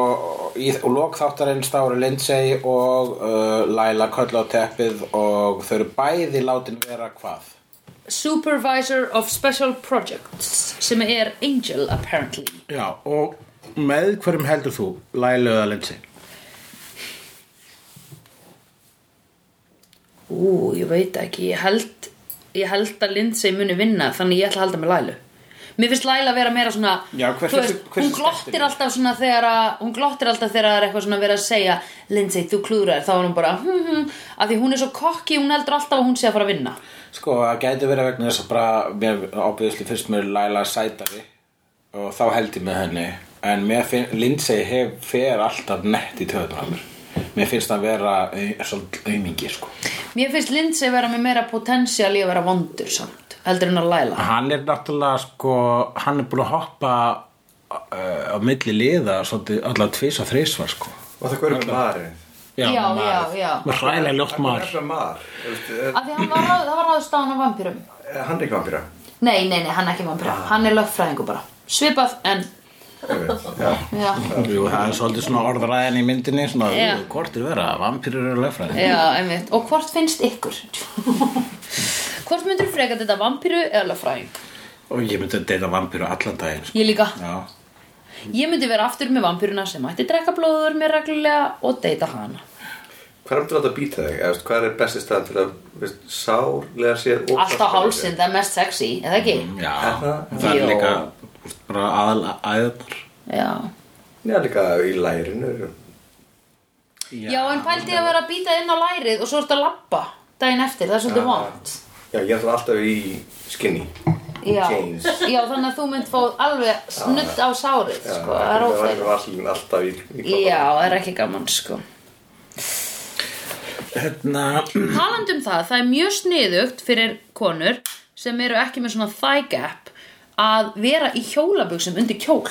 S4: í, og lók þáttarins þá eru Lindsay og uh, Laila köll á teppið og þau eru bæði látin vera hvað?
S1: Supervisor of Special Projects sem er Angel apparently
S4: Já, og með hverjum heldur þú, Lailu eða Lindsay?
S1: Ú, ég veit ekki, ég held ég held að Lindsay muni vinna þannig ég ætla að halda með Lailu Mér finnst Laila vera meira svona
S4: Já, hversu-
S1: þú
S4: hversu
S1: hún
S4: sterkt er
S1: glottir
S4: hún?
S1: alltaf svona þegar að hún glottir alltaf þegar það er eitthvað svona verið að segja Lindsay, þú klúðrar, þá er hún bara hm, hm, að því hún er svo kokki, hún heldur alltaf að hún sé að fara að vinna
S4: Sko, það gæti verið vegna þess að bara mér ábyrðisli fyrst mér Laila sætari og þá held ég með henni en mér finnst, Lindsay hef, fer alltaf nett í töðunar á mér mér finnst það vera eh, svolítið aumingi sko.
S1: Mér finnst Lindsay vera með meira potensial í að vera vondur samt heldur en að læla
S4: Hann er náttúrulega sko, hann er búin að hoppa uh, á milli liða svolítið allavega tvís og þrísvar sko.
S2: Og það hverju marinn?
S1: Já,
S4: maður.
S1: já, já.
S4: Með hræðilega ljótt
S2: Það
S4: maður.
S2: er mar. Þú veist, er-
S1: Af því hann var, ráð, það var ráðist á hann af vampýrum
S2: er Hann er ekki vampýra.
S1: Nei, nei, nei, hann er ekki vampýra Hann er lögfræðingu bara Svipað en Já,
S4: Jú, það er svolítið svona orðræðin í myndinni, svona,
S1: Já.
S4: jú, hvort er vera, vampýrur eru lögfræði.
S1: já, einmitt Og hvort finnst ykkur? hvort myndir freka þetta vampýru eða lögfræðing?
S4: Og ég myndi að deyta vampýru allan daginn, sko.
S1: Ég líka
S4: Já.
S1: Ég myndi vera aftur með vampýruna sem ætti drekka blóður mér reglulega og deyta hana
S2: Hvað er þetta að býta þig? Eða, þú veist, hvað er besti stað til að þú veist, sárlega sér og-
S1: Alltaf hálsinn, það er mest sexy, eða ekki?
S4: Mm, Já,
S2: það?
S4: það er
S1: Jó.
S4: líka bara aðal æðunar.
S1: Já
S2: Já, líka í lærinu.
S1: Já, en pældi ég að vera að býta inn á lærið og svo ertu að labba daginn eftir, það er svolítið vond
S2: Já, ég er alltaf í skinny.
S1: Já.
S2: James.
S1: Já, þannig að þú mynd fá alveg snudd á sárið,
S2: Já,
S1: sko, það er óþægilegt.
S2: óþægilegt. Alltaf í... í
S1: Já, það er ekki gaman, sko.
S4: Hérna,
S1: Talandi um það, það er mjög sniðugt fyrir konur sem eru ekki með svona thigh gap að vera í hjólabuxum undir kjól.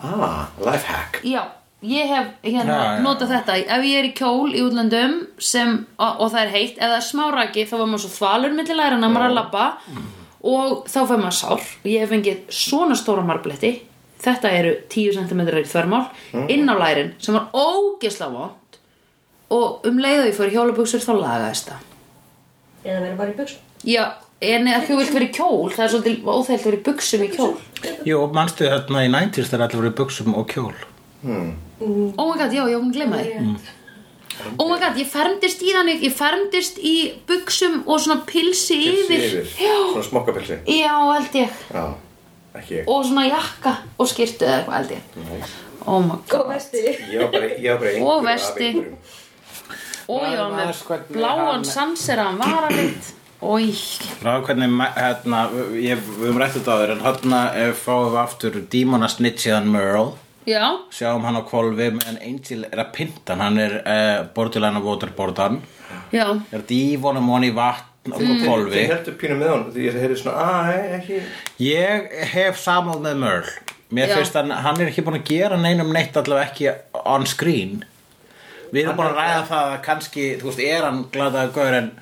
S2: Ah, lifehack.
S1: Já, ég hef hérna
S4: Já, já.
S1: notað þetta. Ef ég er í kjól í útlöndum sem, og, og það er heitt, ef það er smáraki þá var maður svo þvalur milli lærana, maður er að labba og þá fær maður sár. Ég hef fengið svona stóra marbletti. Þetta eru 10 cm í þvermál
S4: Mm.
S1: inn á lærin sem var ógeðslega vond og um leiðu ég fór í hjólabuxur þá lagaðist það.
S5: Eða verið bara í buksum
S1: Já, en ekki þú vilt vera í kjól Það er svolítið óþægt að vera í buksum í kjól
S4: jú, manstu þarna í 90s þegar allir voru í buksum og kjól.
S1: Oh my god, já, já, hún glemma því Oh my god, ég fermdist í þannig Ég fermdist í buksum og svona pilsi, yfir,
S2: Yfir.
S1: Já,
S2: Svona smokkapilsi.
S1: já, held ég
S2: Já, ekki ég.
S1: Og svona jakka og skyrtu eða eitthvað held ég Oh my
S5: Góð
S1: god
S5: vesti
S2: Ég var bara, ég var bara einhver
S1: Og
S2: af
S1: vesti.
S2: einhverjum.
S1: Og ég var
S4: Maður
S1: með
S4: las hvernig
S1: bláan
S4: hann-
S1: sanseraðan varalit Ói,
S4: Frá hvernig, ma- hérna, ég, við höfum rættið á þér, en hérna eh, fáum við aftur dímona snitchiðan Merle.
S1: já
S4: Sjáum hann á kolvi, meðan Angel er að pynta hann, hann er uh, bordilæna waterboardan.
S1: Já,
S4: Er dífonum hon í vatn og mm. kolvi.
S2: Ég heldur pínu með honum því ég heyrði svona, að, hei, ekki.
S4: Ég hef samúð með Merle Mér
S1: Já.
S4: finnst hann, hann er ekki búin að gera neinum neitt allavega ekki on screen Við erum búin að ræða það að kannski, þú veist, er hann gladaði gaur en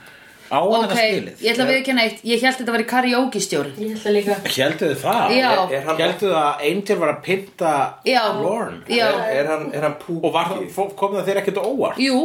S4: á hann
S1: ok,
S4: þetta skilið
S1: ég ætla að viðurkenna eitt Ég held þetta var í karaoke stjóri
S5: Ég ætla líka
S4: Hjelduðu það?
S1: Já.
S2: Er, er hann,
S4: Hjelduðu að Angel var að pynta
S1: Já,
S4: Lorne?
S1: já
S2: er, er hann, er hann púki?
S4: Og var, fó- kom það þér ekkert á óvart?
S1: Jú,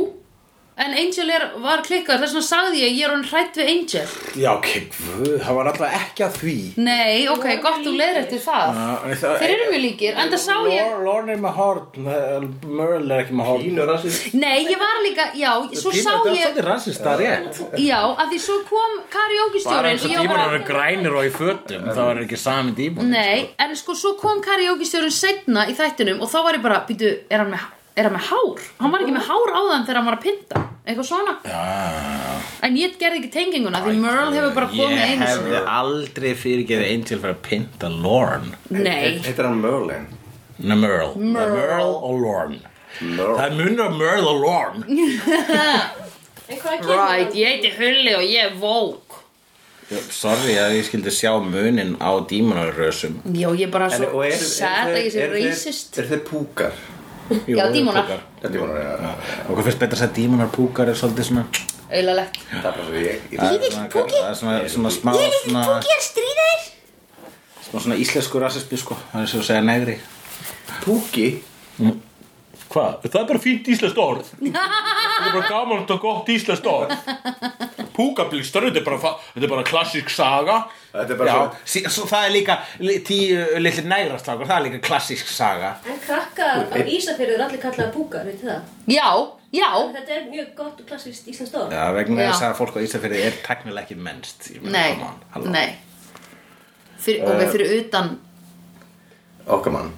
S1: en Angel er, var klikkar, þess vegna sagði ég, ég er hann hrætt við Angel.
S4: Já, ok, guð, það var allavega ekki að því
S1: Nei, ok, gott þú leiðir eftir það.
S4: Ah.
S1: Þeir eru mjög líkir, en það sá ég...
S4: Lorne- Lorne er með horn, Merle er ekki með horn
S2: Pínur að sér.
S1: Nei, ég var líka, já, svo
S4: Pínu-
S1: sá
S4: þetta er
S1: ég,
S4: svolítið rassist, það er rétt
S1: já, að því svo kom
S4: bara
S1: karaoke-stjórin
S4: eins
S1: ég
S4: og
S1: var
S4: dímonar
S1: bara-
S4: eru grænir og í fötum þá er ekki sami dímon
S1: Nei, en sko, svo kom karaoke-stjórin setna í þættinum og þá var ég bara, býtu, er hann með, er hann með hár? Hann var ekki með hár áðan þegar hann var að pynta, eitthvað svona. Já. En ég gerði ekki tenginguna, því Merle hefur bara komið
S4: Ah. ég
S1: einu
S4: hefði
S1: sinni.
S4: aldrei fyrirgeði Angel fyrir að pinta Lorne
S1: Nei,
S2: Heitir hann Merlin?
S4: Nei, Merle Merle, og Lorne
S2: Merlin.
S4: Það er munur á Merle og Lorne
S5: En hvað kemur
S1: right, ég heiti Hulli og ég er vók.
S4: Sorry að ég skildi sjá munin á dímonarrösum
S1: Já, ég er bara
S2: En-
S1: svo
S2: og eru-
S1: sæt
S2: eru
S1: að
S2: þeir-
S1: ég sé
S2: eru þeir-
S1: racist
S2: Eru þeir púkar?
S1: Já, dímonar.
S2: Þetta er vonar, já.
S4: Okkur finnst betra að segja dímonarpúkar er svolítið svona
S1: Eilalegt
S2: Það er bara svo ég. ég-
S4: Ég er ekki púki Það er svona, svona smá Ég er ekki púki að stríða þér Smá svona íslensku rassismi sko Það er svo að segja negri
S2: Púki?
S4: Hvað? Það er bara fínt íslenskt orð Það er bara gaman og gott íslenskt orð Púkablíkstur, þetta er bara, fa- þetta er bara klassisk saga
S2: Þetta er bara
S4: Já,
S2: svo-
S4: sí, svo það er líka li- tíu litli nægrastrákur, það er líka klassisk saga
S5: En krakkar á Ísafjörðu er allir kallaða búkar, veit það?
S1: Já, já
S5: Þetta er mjög gott og klassist íslenskt orð.
S4: Já, vegna
S1: Já.
S4: þess að fólk á Ísafirði er teknilega ekki mennst Ég meina,
S1: Nei,
S4: come on, halló.
S1: nei fyrir, Og við fyrir utan
S2: Okkamann.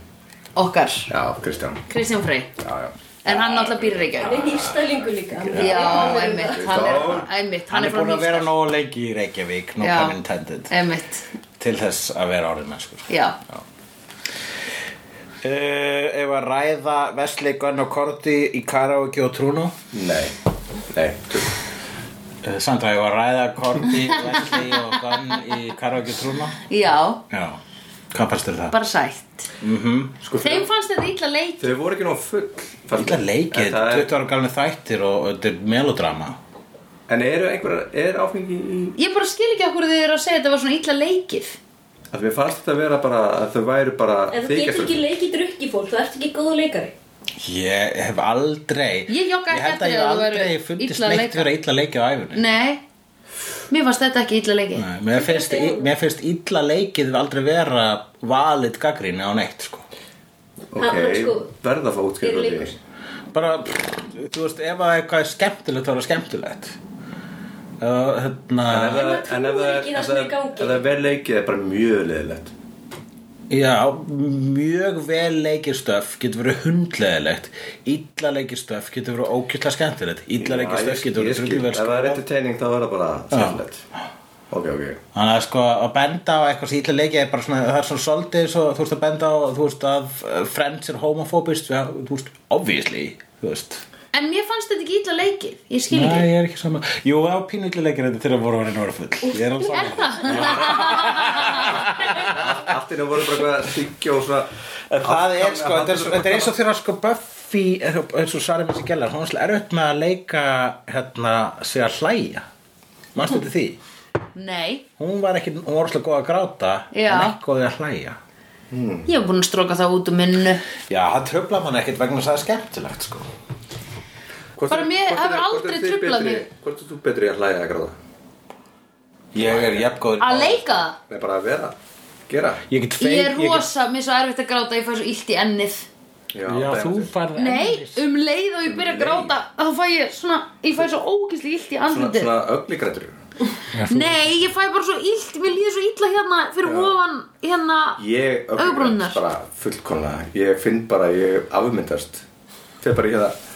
S1: okkar
S2: Já, Kristján.
S1: Kristján Frey
S2: Já, já.
S1: En hann náttúrulega býr í Reykjavík
S5: Hann er hýrstælingu líka.
S1: Já, einmitt Hann er, einmitt,
S4: Hann er búin að vera
S1: Hnífsdal.
S4: nógu lengi í Reykjavík, no
S1: Já.
S4: pun intended
S1: Einmitt,
S4: Til þess að vera orðin mennskur
S1: já
S4: uh, Ef að ræða Vesli, Gunn og Korti í karaoke og trúnu
S2: Nei. Nei. þú-
S4: Eh, Sandra, ég var að ræða Korti, Leslie og Gunn í Karvaki trúna
S1: Já,
S4: Já, hvað fannst þér um það?
S1: bara sætt
S2: Sko,
S1: Þeim fannst þetta illa leik
S2: Þau voru ekki nóg full fannst
S4: Ítla
S2: mér. En
S4: leikið,
S2: það er-
S4: 20 ára galni þættir og, og þetta er melodrama
S2: En eru einhverjar, er áfengi í
S1: Ég bara skil ekki okkur þið eru að segja þetta var svona illa leikið
S2: að Mér fannst þetta að vera bara að þau væru bara
S5: Ef þú getur
S2: þykjast-
S5: ekki leikið drukki fólk, þú ert ekki góðu leikari.
S4: Ég hef aldrei
S1: Ég jogga ekki
S4: held að
S1: eftir
S4: ég
S1: að þú
S4: aldrei
S1: værir
S4: fundist
S1: illa að
S4: neitt
S1: leika.
S4: vera illa leikið á æfunni
S1: Nei, mér fannst þetta ekki illa leikið
S4: Nei, mér, finnst, mér finnst illa leikið aldrei vera valid gaggríni á neitt sko.
S5: Það var sko-
S2: Ok, verða að fá útskýrðu
S5: Eru leikur.
S4: bara, þú veist, ef að eitthvað er skemmtilegt þá er það skemmtilegt uh, hérna,
S2: En ef það
S5: Ef maður
S2: en ef það
S5: trúir
S2: er
S5: ekki
S2: ef
S5: í það sem
S2: það
S5: er í gangi.
S2: ef það er vel leikið er bara mjög leðilegt
S4: Já, mjög vel leikir stöf getur verið hundleðilegt Illa leikir stöf getur verið ókjöldlega skemmtilegt Illa leikir stöf getur verið sko.
S2: Ef það er rétti
S4: drulluvert
S2: teining þá er það bara skemmtilegt Ok, ok
S4: Þannig að sko að benda á eitthvað sem illa leikið er bara svona Það er svona svolítið svo þú veist að benda á Þú veist að uh, Friends er homofóbist ja, Þú veist, obviously Þú veist
S1: En mér fannst þetta ekki illa leikið Ég skil
S4: Nei,
S1: ekki
S4: ég er ekki sama Jú, það var pínu illa leikir þetta til að voru að reyna að vera full Ég er alveg
S1: Er
S4: saman
S1: það?
S2: Allt innan voru bara eitthvað að styggja og svona
S4: En það er sko, þetta er, þetta er eins og þegar sko Buffy, er- eins og Sari Messi Gellar hún er svolítið erfitt með að leika hérna, sig að hlæja mannstu þetta því?
S1: Nei,
S4: Hún var ekki, hún var svolítið góð að gráta
S1: Já.
S4: en ekki góð að hlæja
S1: ég hef búin að stróka það út úr minnu
S4: Já, það tröfla mann ekkert vegna þess að það er skemmtilegt sko
S2: Hvort
S1: Bara
S2: er-
S1: mér
S2: hvort er- hvort
S1: hefur
S2: er
S1: aldrei
S2: þið
S1: truflað
S2: betri-
S1: mig.
S2: Hvort er þú betri að hlæja að gráða?
S4: Ég er jafngóður
S1: Að leika það?
S2: Nei, bara að vera, gera
S4: Ég get feik
S1: Ég er
S4: ég
S1: rosa, mér er svo erfitt að gráta Ég fæ svo illt í ennið
S4: get, Já, þú farð
S1: Nei, um leið og ég byrja að
S2: leið.
S1: gráta Þá fæ ég svona, ég fæ svo ógeðslega illt í
S2: Svona,
S1: andlitið
S2: svona öglíkrættur
S1: Nei, ég fæ bara svo illt, mér líður svo illa hérna fyrir ofan hérna
S2: Ég
S1: Augabrúnirnar.
S2: öglíkrætt bara fullkomlega Ég finn bara, að ég afmyndast Þegar bara ég það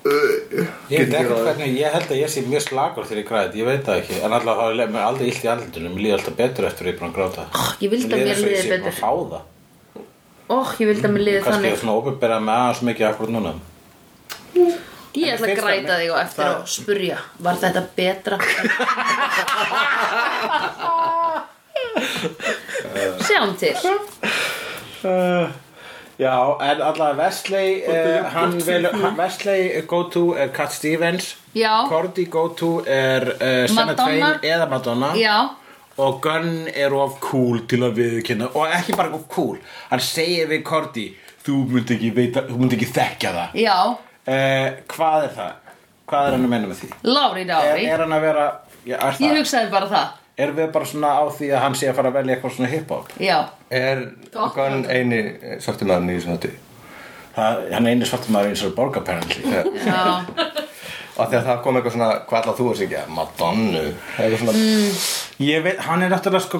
S4: Ég veit
S2: Get
S4: ekki
S2: ekki ráðið.
S4: hvernig, ég held að ég sé mjög slagur þegar ég græði, ég veit það ekki En alltaf þá er leið- mér er aldrei illt í andlutunum, mér líði alltaf betur eftir að ég er búin að gráta
S1: oh, Ég vildi að
S4: Mér
S1: mér
S4: líður eins og ég
S1: liði
S4: sé búin
S1: betur
S4: að fá það
S1: Oh, ég vildi að mér liði
S4: kannski
S1: þannig
S4: er svona óbyrberað með aðeins mikið akkur núna
S1: Ég ætla að
S4: finnst það
S1: græta
S4: mér-
S1: þig og eftir að spurja Var þetta betra? Sjáum til
S4: Eh, já, en allavega Wesley eh, hann velur, hann- Wesley go to er Cat Stevens
S1: Já.
S4: Cordy go to er eh, Senna
S1: Madonna.
S4: Twain eða Madonna
S1: Já,
S4: og Gunn er of cool til að viðkynna og ekki bara of cool hann segir við Cordy þú myndi ekki, veita, þú myndi ekki þekkja það
S1: já,
S4: eh, hvað er það? hvað er hann að menna með því?
S1: Lári
S4: er,
S1: Dári
S4: er hann að vera já, er,
S1: Ég
S4: það,
S1: hugsaði bara það
S4: erum við bara svona á því að hann sé að fara að velja eitthvað svona hip-hop?
S1: Já,
S2: Er
S5: Gott.
S2: Gunn eini svarti maðurinn í þessu hætti?
S4: Það, hann er einu svartum maður eins og borg apparently
S1: já
S2: Af því að það kom eitthvað svona, hvað ætlað þú að syngja? Madonnu Eitthvað svona
S1: Mm.
S4: Ég veit, hann er náttúrulega sko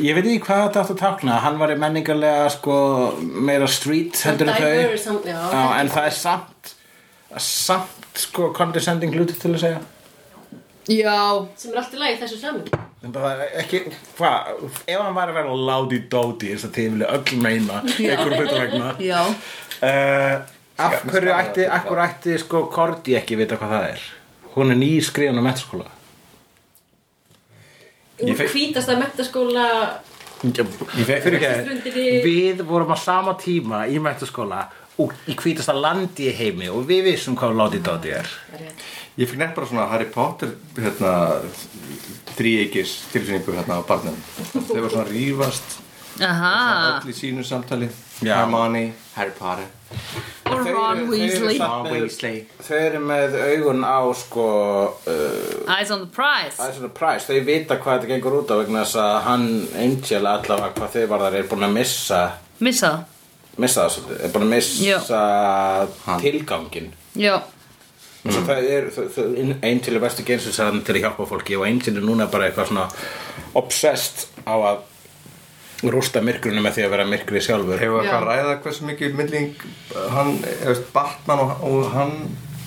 S4: Ég veit ekki hvað þetta átt að tákna Hann var í menningarlega sko meira street heldur en
S5: Diverse,
S4: þau
S5: samt- já.
S4: Já, En það er samt samt sko condescending hluti til að segja
S1: Já,
S5: Sem er allt í lagi í þessu saman.
S4: En bara það er ekki, hvað, ef hann var að vera láti-dóti eins og þið vilja öll meina einhverjum hlutu vegna
S1: já
S4: uh, Af hverju ætti, af hverju ætti sko Korti ekki vita hvað það er Hún er nýskrifan á metaskóla
S5: Úr hvítasta mentaskóla
S4: Ég fe- fyrirgefðu, Við vorum á sama tíma í mættaskóla og í hvítasta landi í heimi og við vissum hvað láti dáti er
S2: Ég fikk nefn bara svona Harry Potter hérna, þríeikis tilfinningu hérna á barnum Þau var svona rífast
S1: Aha,
S2: öll í sínu samtali
S4: Já.
S2: Hermione, Harry Potter
S1: og Ron Weasley
S2: Ron Weasley
S4: Þau eru með augun á sko uh,
S1: Eyes on the prize
S4: Það er svona præs, þau vita hvað þetta gengur út á vegna þess að hann Angel allavega hvað þau varðar er búin að missa
S1: Missa það
S4: missa það svolítið, er búin að missa tilgangin
S1: Já,
S4: Mm. Það er, þau- þau- Angel er verstu geinsinsaðan til að hjálpa fólki og Angel er núna bara eitthvað svona obsessed á að rústa myrkrunum með því að vera myrkri sjálfur
S2: Hefur
S1: Já.
S2: eitthvað að ræða hversu mikið milling uh, hann, eh, veist, Batman og, og hann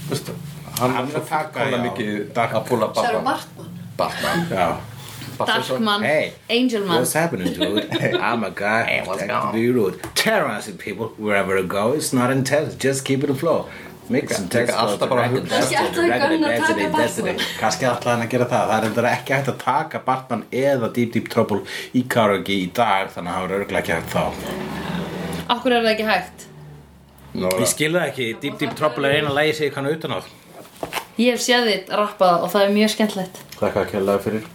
S2: veist, hann,
S4: Hann er að taka,
S2: fullkomlega
S4: já.
S2: mikið að búla
S5: Sarah
S2: Batman
S5: Bartman.
S2: Batman
S4: Já
S1: Darkman,
S4: Hey,
S1: Angelman
S4: what's happening dude? I'm a guy, hey,
S2: what's
S4: what's
S2: going on?
S4: going on? Terrorizing people wherever I go, it's not intense, just keep it afloat Mix
S2: Sem teka alltaf bara að hugsa.
S5: Kannski ætlaði Gunn að taka Batman.
S2: sko.
S4: Kanski ætlaði hann að gera það Það er endur ekki hægt að taka Batman eða Deep Deep Trouble í Karagi í dag þannig að hann er örglega ekki hægt þá
S1: Akkur er það ekki hægt
S2: Nó,
S4: Ég skil það ekki, Deep Deep Trouble er eina lægi sig kannu utan á
S1: Ég hef séð þitt rappaða og það er mjög skemmtilegt
S4: Þakka að kella fyrir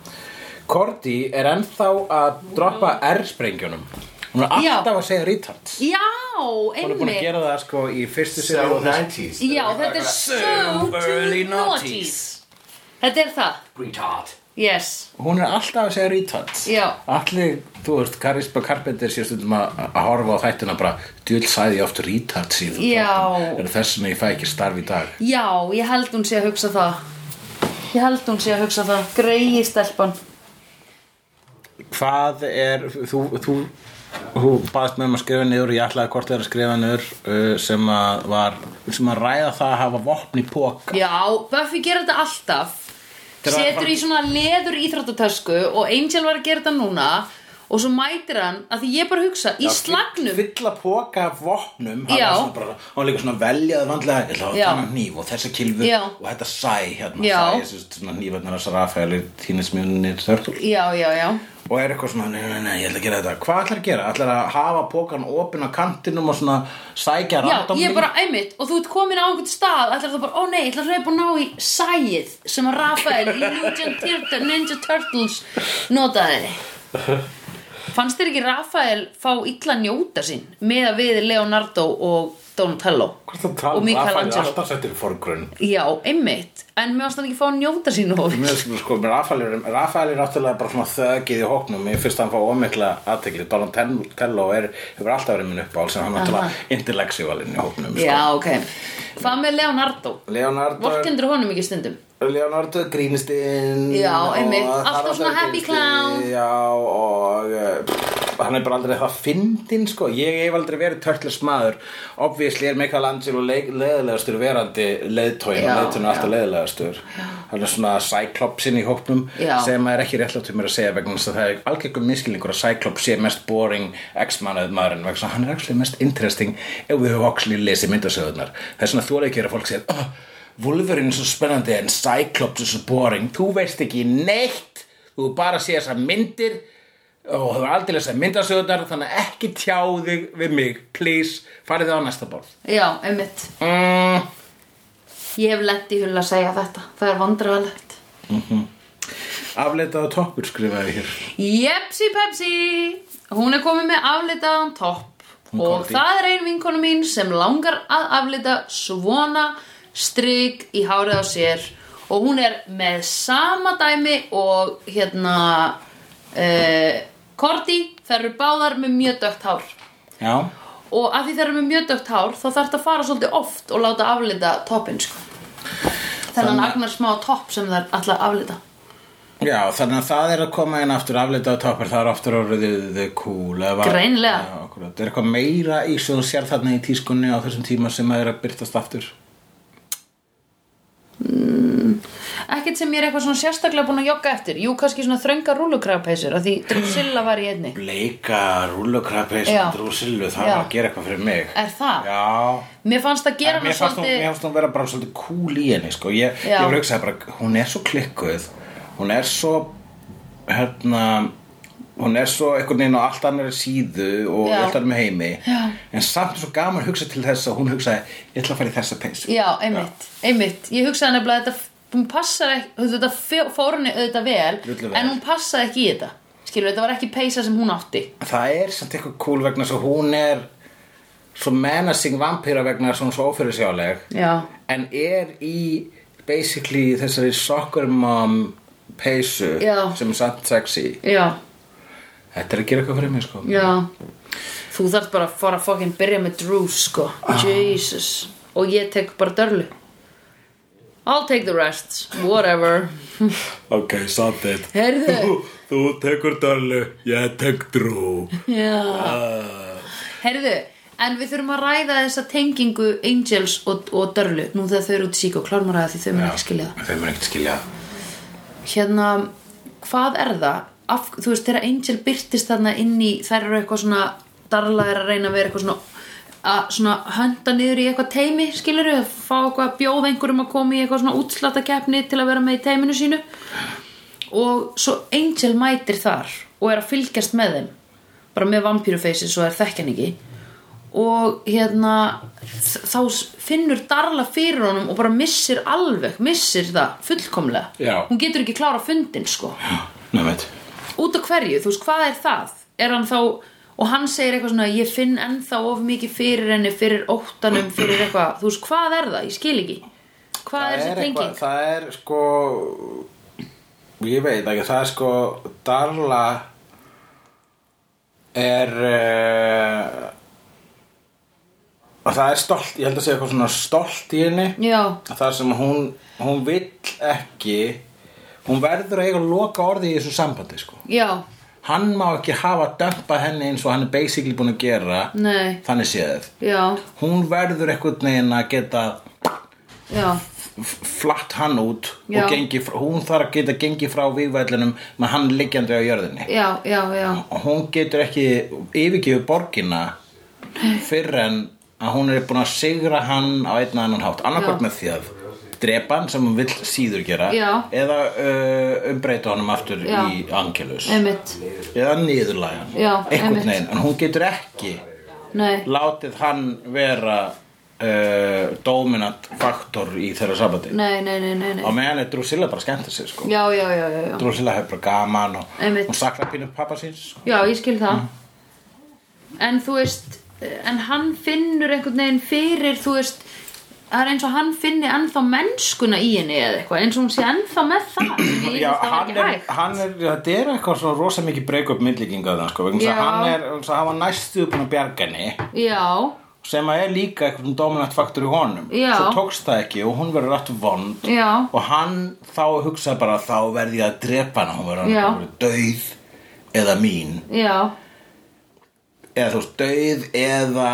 S4: Korti er ennþá að droppa R-sprengjunum Hún er
S1: Já.
S4: alltaf að segja retard
S1: Já,
S4: Hún er búin að
S1: einmitt
S4: gera það sko í fyrstu
S3: So
S4: sér
S3: 90s
S1: Já, þetta er so
S4: So early
S1: 90s Þetta er það,
S3: Retard
S1: yes
S4: Hún er alltaf að segja retard
S1: Já.
S4: Allir, þú veist, Karispa Carpenter sé stundum að að horfa á þættina bara djöld sæði ég oft retard síðan
S1: Já.
S4: Er þess vegna ég fæ ekki starf í dag
S1: Já, ég held hún sé að hugsa það Ég held hún sé að hugsa það Greiði stelpan
S4: Hvað er, þú, þú, þú baðst með um að skrifa niður og ég ætlaði hvort þeir að skrifa niður uh, sem að var, sem að ræða það að hafa vopn í póka
S1: Já, Buffy gerir þetta alltaf
S4: Til að-
S1: Setur í svona leður íþróttatösku Og Angel var að gera þetta núna Og svo mætir hann að því ég bara hugsa Í slagnum
S4: Fylla póka af vopnum hann
S1: Já.
S4: var svona bara- hann var líka svona veljaði vandlega ég ætla að
S1: Já.
S4: hafa þannig hníf og þessa kilfu
S1: Já.
S4: og þetta sæ hérna
S1: Já.
S4: sæ, þessi svona hnífarnar þessar aðfæli tínismjönir þörkul
S1: Já, já, já
S4: og er eitthvað svona, nei, nei, nei, ég ætla að gera þetta hvað ætlar að gera? ætlar að hafa pókan opinn á kantinum og svona
S1: Já,
S4: sækja randomly?
S1: ég bara, einmitt, og þú ert komin á einhvern stað ætlar það bara, ó nei, ætlar það að ná í sæið sem að Rafael í Ninja Turtle- Ninja Turtles notaði Fannst þér ekki Rafael fá illa njóta sín með að við Leonardo og Donatello
S4: Hvað ertu að tala
S1: og
S4: um? Rafael er
S1: Michelangelo
S4: alltaf settur í forgrunn
S1: Já, einmitt, en mér fannst hann ekki fá að njóta sín og
S4: Mér finnst sko, með Rafael er, Rafael er náttúrulega bara svona þögið í hóknum Mér finnst hann fá ómikla aðtekli Donatello er, hefur alltaf verið minn uppáhald sem hann náttúrulega intellectualinn í hóknum sko.
S1: Já, ok Hvað með Leonardo?
S4: Leonardo,
S1: Vorkendur honum ekki stundum
S4: Leonardo grínistinn
S1: Já, einmitt.
S4: og
S1: Alltaf
S4: Haraldur
S1: svona happy
S4: grínistinn,
S1: clown.
S4: Já, og eh, pff, hann er bara aldrei það fyndinn, sko Ég hef aldrei verið törtlust maður Obvísli er Michelangelo leik- leiðilegastur verandi leiðtóin
S1: Já,
S4: og leiðtóin er alltaf
S1: já.
S4: leiðilegastur Hann er svona cyclopsinn í hópnum
S1: Já.
S4: sem er ekki réttlátt um mér að segja vegna þess að það er algjörgum miskilningur að Cyclops sé mest boring X-mannað maðurinn vegna þess að hann er actually mest interesting ef við höfum oxli lesið myndasöðunar það er svona þóla ekki að fólk segja oh, Wolverine er svo spennandi en Cyclops er svo boring þú veist ekki neitt þú bara sé þessar myndir og hefur aldrei lesað myndasöðunar þannig að ekki tjáði við mig please farið það á næsta borð
S1: Já, einmitt
S4: mm.
S1: Ég hef lent í hull að segja þetta Það er vandræðalegt
S4: afleitaðu toppur skrifaði hér
S1: Jepsi Pepsi Hún er komið með aflitaðan topp
S4: Hún
S1: Og
S4: komið í.
S1: það er ein vinkonu mín sem langar að aflita svona strik í hárið á sér Og hún er með sama dæmi og hérna uh, Korti þær eru báðar með mjög dögt hár
S4: já
S1: Og af því þær eru með mjög dögt hár þá þarf að fara svolítið oft og láta aflita toppinn sko Þennan
S4: Þannig-
S1: agnar smá topp sem þær ætla að aflita
S4: Já, þannig að það er að koma inn aftur afleitað toppar, það er aftur orðið the cool eða var-
S1: Greinilega.
S4: Já, akkurat. Er eitthvað meira í sem þú sér þarna í tískunni á þessum tíma sem að er að byrtast aftur?
S1: Ekkert sem ég er eitthvað svona sérstaklega búin að jogga eftir Jú, kannski svona þrönga rúlukrapeysur Af því Drusilla var í einni
S4: Bleika rúllukrappi
S1: Já.
S4: sem drúsillu, það
S1: Já.
S4: var að gera eitthvað fyrir mig
S1: Er það?
S4: Já
S1: Mér fannst það gera
S4: En Mér
S1: hana
S4: fannst hún, mér
S1: svolítið
S4: fannst hún vera bara svolítið cool í henni sko. Ég,
S1: Já.
S4: ég var hugsaði bara, hún er svo klikkuð Hún er svo hérna hún er svo einhvern veginn á allt annari síðu og
S1: Já.
S4: allt annari með heimi
S1: Já.
S4: en samt er svo gaman að hugsa til þess að hún hugsaði ég ætla að fara í þessa peysu
S1: Já, einmitt, einmitt Ég hugsaði nefnilega að þetta Hún passar ekki, þú veist, þetta fór henni auðvitað vel
S4: Drullu vel.
S1: En hún passaði ekki í þetta Skilur, þetta var ekki peysa sem hún átti
S4: það er samt eitthvað cool vegna þess að hún er svo menacing vampíra vegna þess að hún er svo ófyrir
S1: Já,
S4: en er í basically þessari soccer mom peysu
S1: Já.
S4: sem er samt sexy
S1: já,
S4: þetta er að gera eitthvað fyrir mig sko
S1: já Þú þarft bara að fara að fucking byrja með Drew, sko Jesus Og ég tek bara dörlu I'll take the rest, whatever
S4: ok, satt eitt
S1: Heyrðu
S4: þú tekur Dallu, ég tek Drú
S1: Já Herðu, en við þurfum að ræða þessa tengingu Angels og, og Dörlu nú þegar þau eru út í sík og klárum að ræða því þau mun ekki skilja
S4: þau mun ekkert skilja það.
S1: það Hérna, hvað er það? Af, þú veist, þegar Angel byrtist þarna inn í þær eru eitthvað svona Darla er að reyna að vera eitthvað svona að svona hönda niður í eitthvað teimi skilur við, að fá eitthvað að bjóða einhverjum að koma í eitthvað svona útslatakeppni til að vera með í teiminu sínu og svo Angel mætir þar og er að fylgjast með þeim bara með vampírufeysi svo er þekkjan ekki og hérna þ- þá s- finnur Darla fyrir honum og bara missir alveg, missir það fullkomlega,
S4: Já.
S1: hún getur ekki klára fundin sko
S4: Nefnt.
S1: út af hverju, þú veist, hvað er það? Er hann þá, og hann segir eitthvað svona, ég finn ennþá of mikið fyrir henni, fyrir óttanum, fyrir eitthvað, þú veist, hvað er það? Ég skil ekki. Hvað er þessi tenging?
S4: það er sko ég veit ekki, það er sko Darla er uh, og það er stolt ég held að segja eitthvað svona stolt í henni
S1: Já,
S4: það sem hún, hún vill ekki hún verður að eiga að loka orði í þessu sambandi sko
S1: já,
S4: hann má ekki hafa dömpað henni eins og hann er basically búin að gera
S1: Nei.
S4: þannig séð
S1: já,
S4: hún verður eitthvað neginn að geta
S1: já,
S4: f- flatt hann út
S1: Já.
S4: og gengi, fr- hún þarf að geta gengið frá vígvællinum með hann liggjandi á jörðinni
S1: já, já, já,
S4: og hún getur ekki yfirgefið borgina fyrr en að hún er búin að sigra hann á einn að annan hátt annarkvort
S1: Já.
S4: með því að drepa hann sem hún vill síður gera
S1: Já.
S4: eða uh, umbreyta honum aftur
S1: Já.
S4: í Angelus
S1: einmitt,
S4: eða niðurlæga hann
S1: Já,
S4: einhvern
S1: einmitt.
S4: veginn, en hún getur ekki
S1: nei,
S4: látið hann vera uh, dominant faktor í þeirra sabati
S1: nei, nei, nei, nei,
S4: á
S1: nei.
S4: meðan er Drusilla bara skemmt að sér sko
S1: Já, já, já, já, já,
S4: Drusilla hefur bara gaman og
S1: Einmitt.
S4: hún saknar pínu pappa síns sko.
S1: já, ég skil það.
S4: Mm.
S1: En þú veist, en hann finnur einhvern veginn fyrir, þú veist, það er eins og hann finni ennþá mennskuna í henni eða eitthvað, eins og hún sé ennþá með það. sem ég
S4: Já,
S1: finnst það var
S4: hann
S1: ekki
S4: er,
S1: hægt.
S4: hann er, þetta er eitthvað svo rosa mikið break up myndlíkinga það sko, vegna þess að
S1: Já.
S4: hann er, þess að hann var næstu búin að bjarga henni
S1: Já,
S4: sem að er líka eitthvað dominant faktor í honum
S1: Já.
S4: svo tókst það ekki og hún verður alltaf vond
S1: Já.
S4: og hann þá hugsaði bara þá verði ég að drepa hana, hún verður
S1: Já.
S4: hann verður dauð eða mín
S1: já,
S4: eða þú veist, dauð eða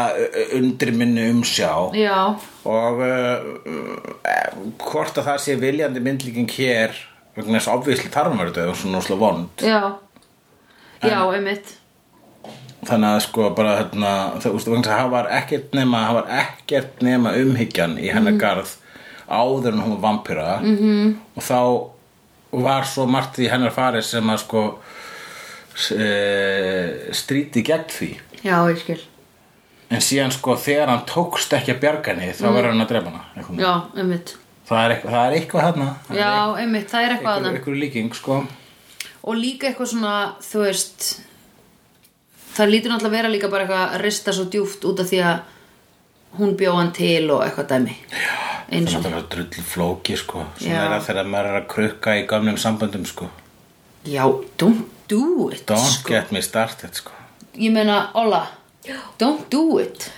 S4: undir minni umsjá
S1: já,
S4: og uh, uh, hvort að það sé viljandi myndlíking hér vegna þess að obvísli þarfumverðu og svona óslega vond
S1: já Já, einmitt
S4: þannig að sko bara hérna, það, úst, vegna, þess að það var ekkert nema það var ekkert nema umhyggjan í
S1: Mhm.
S4: hennar garð áður en hún var vampíra -hmm. og þá var svo margt í hennar farið sem að sko e, stríti gegn því
S1: Já, ég skil
S4: en síðan sko þegar hann tókst ekki að bjarga henni þá verður hann að drepa hana einhvern
S1: Mhm.
S4: veginn.
S1: Já, einmitt
S4: það er eitthvað, það er eitthvað hérna það er
S1: Já, einmitt, það er eitthvað
S4: einhver,
S1: þannig
S4: einhver líking sko
S1: Og líka eitthvað svona, þú veist Það lítur náttúrulega að vera líka bara eitthvað að rista svo djúft út af því að hún bjó hann til og eitthvað dæmi Já,
S4: það er
S1: eins og
S4: náttúrulega drull flóki sko svona
S1: Já.
S4: er það þegar maður er að krukka í gamlum samböndum sko
S1: Já, don't do it
S4: don't
S1: sko.
S4: get me started sko
S1: Ég meina, Olla, don't do it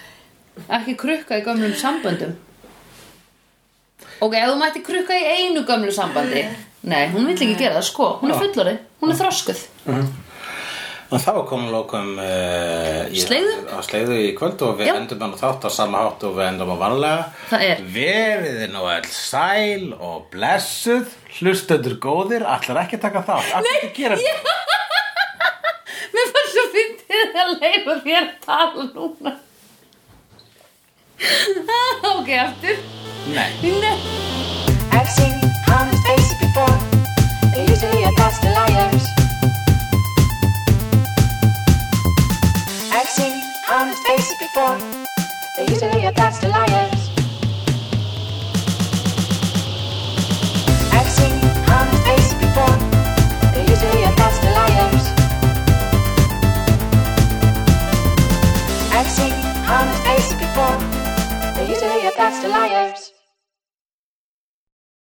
S1: Ekki krukka í gömlum samböndum Ok, ef þú mætti krukka í einu gömlu sambandi Nei, hún vill ekki gera það, sko Hún er fullari, hún er þroskuð
S4: og þá komum lókum uh,
S1: Sleiðu?
S4: á sleiðu í kvöld og við
S1: Já.
S4: endum hann þátt á sama hátt og við endum á vanlega
S1: Það er.
S4: verið nú all sæl og blessuð hlustöður góðir allar ekki að taka þátt allar ekki að gera yeah.
S1: Mér fannst svo fyndið að leifa þér að tala núna Ok, aftur
S4: nei
S1: Nei
S7: I've seen honest faces before. They're usually a pass to liars. I've seen honest faces before. They're usually a pass to liars.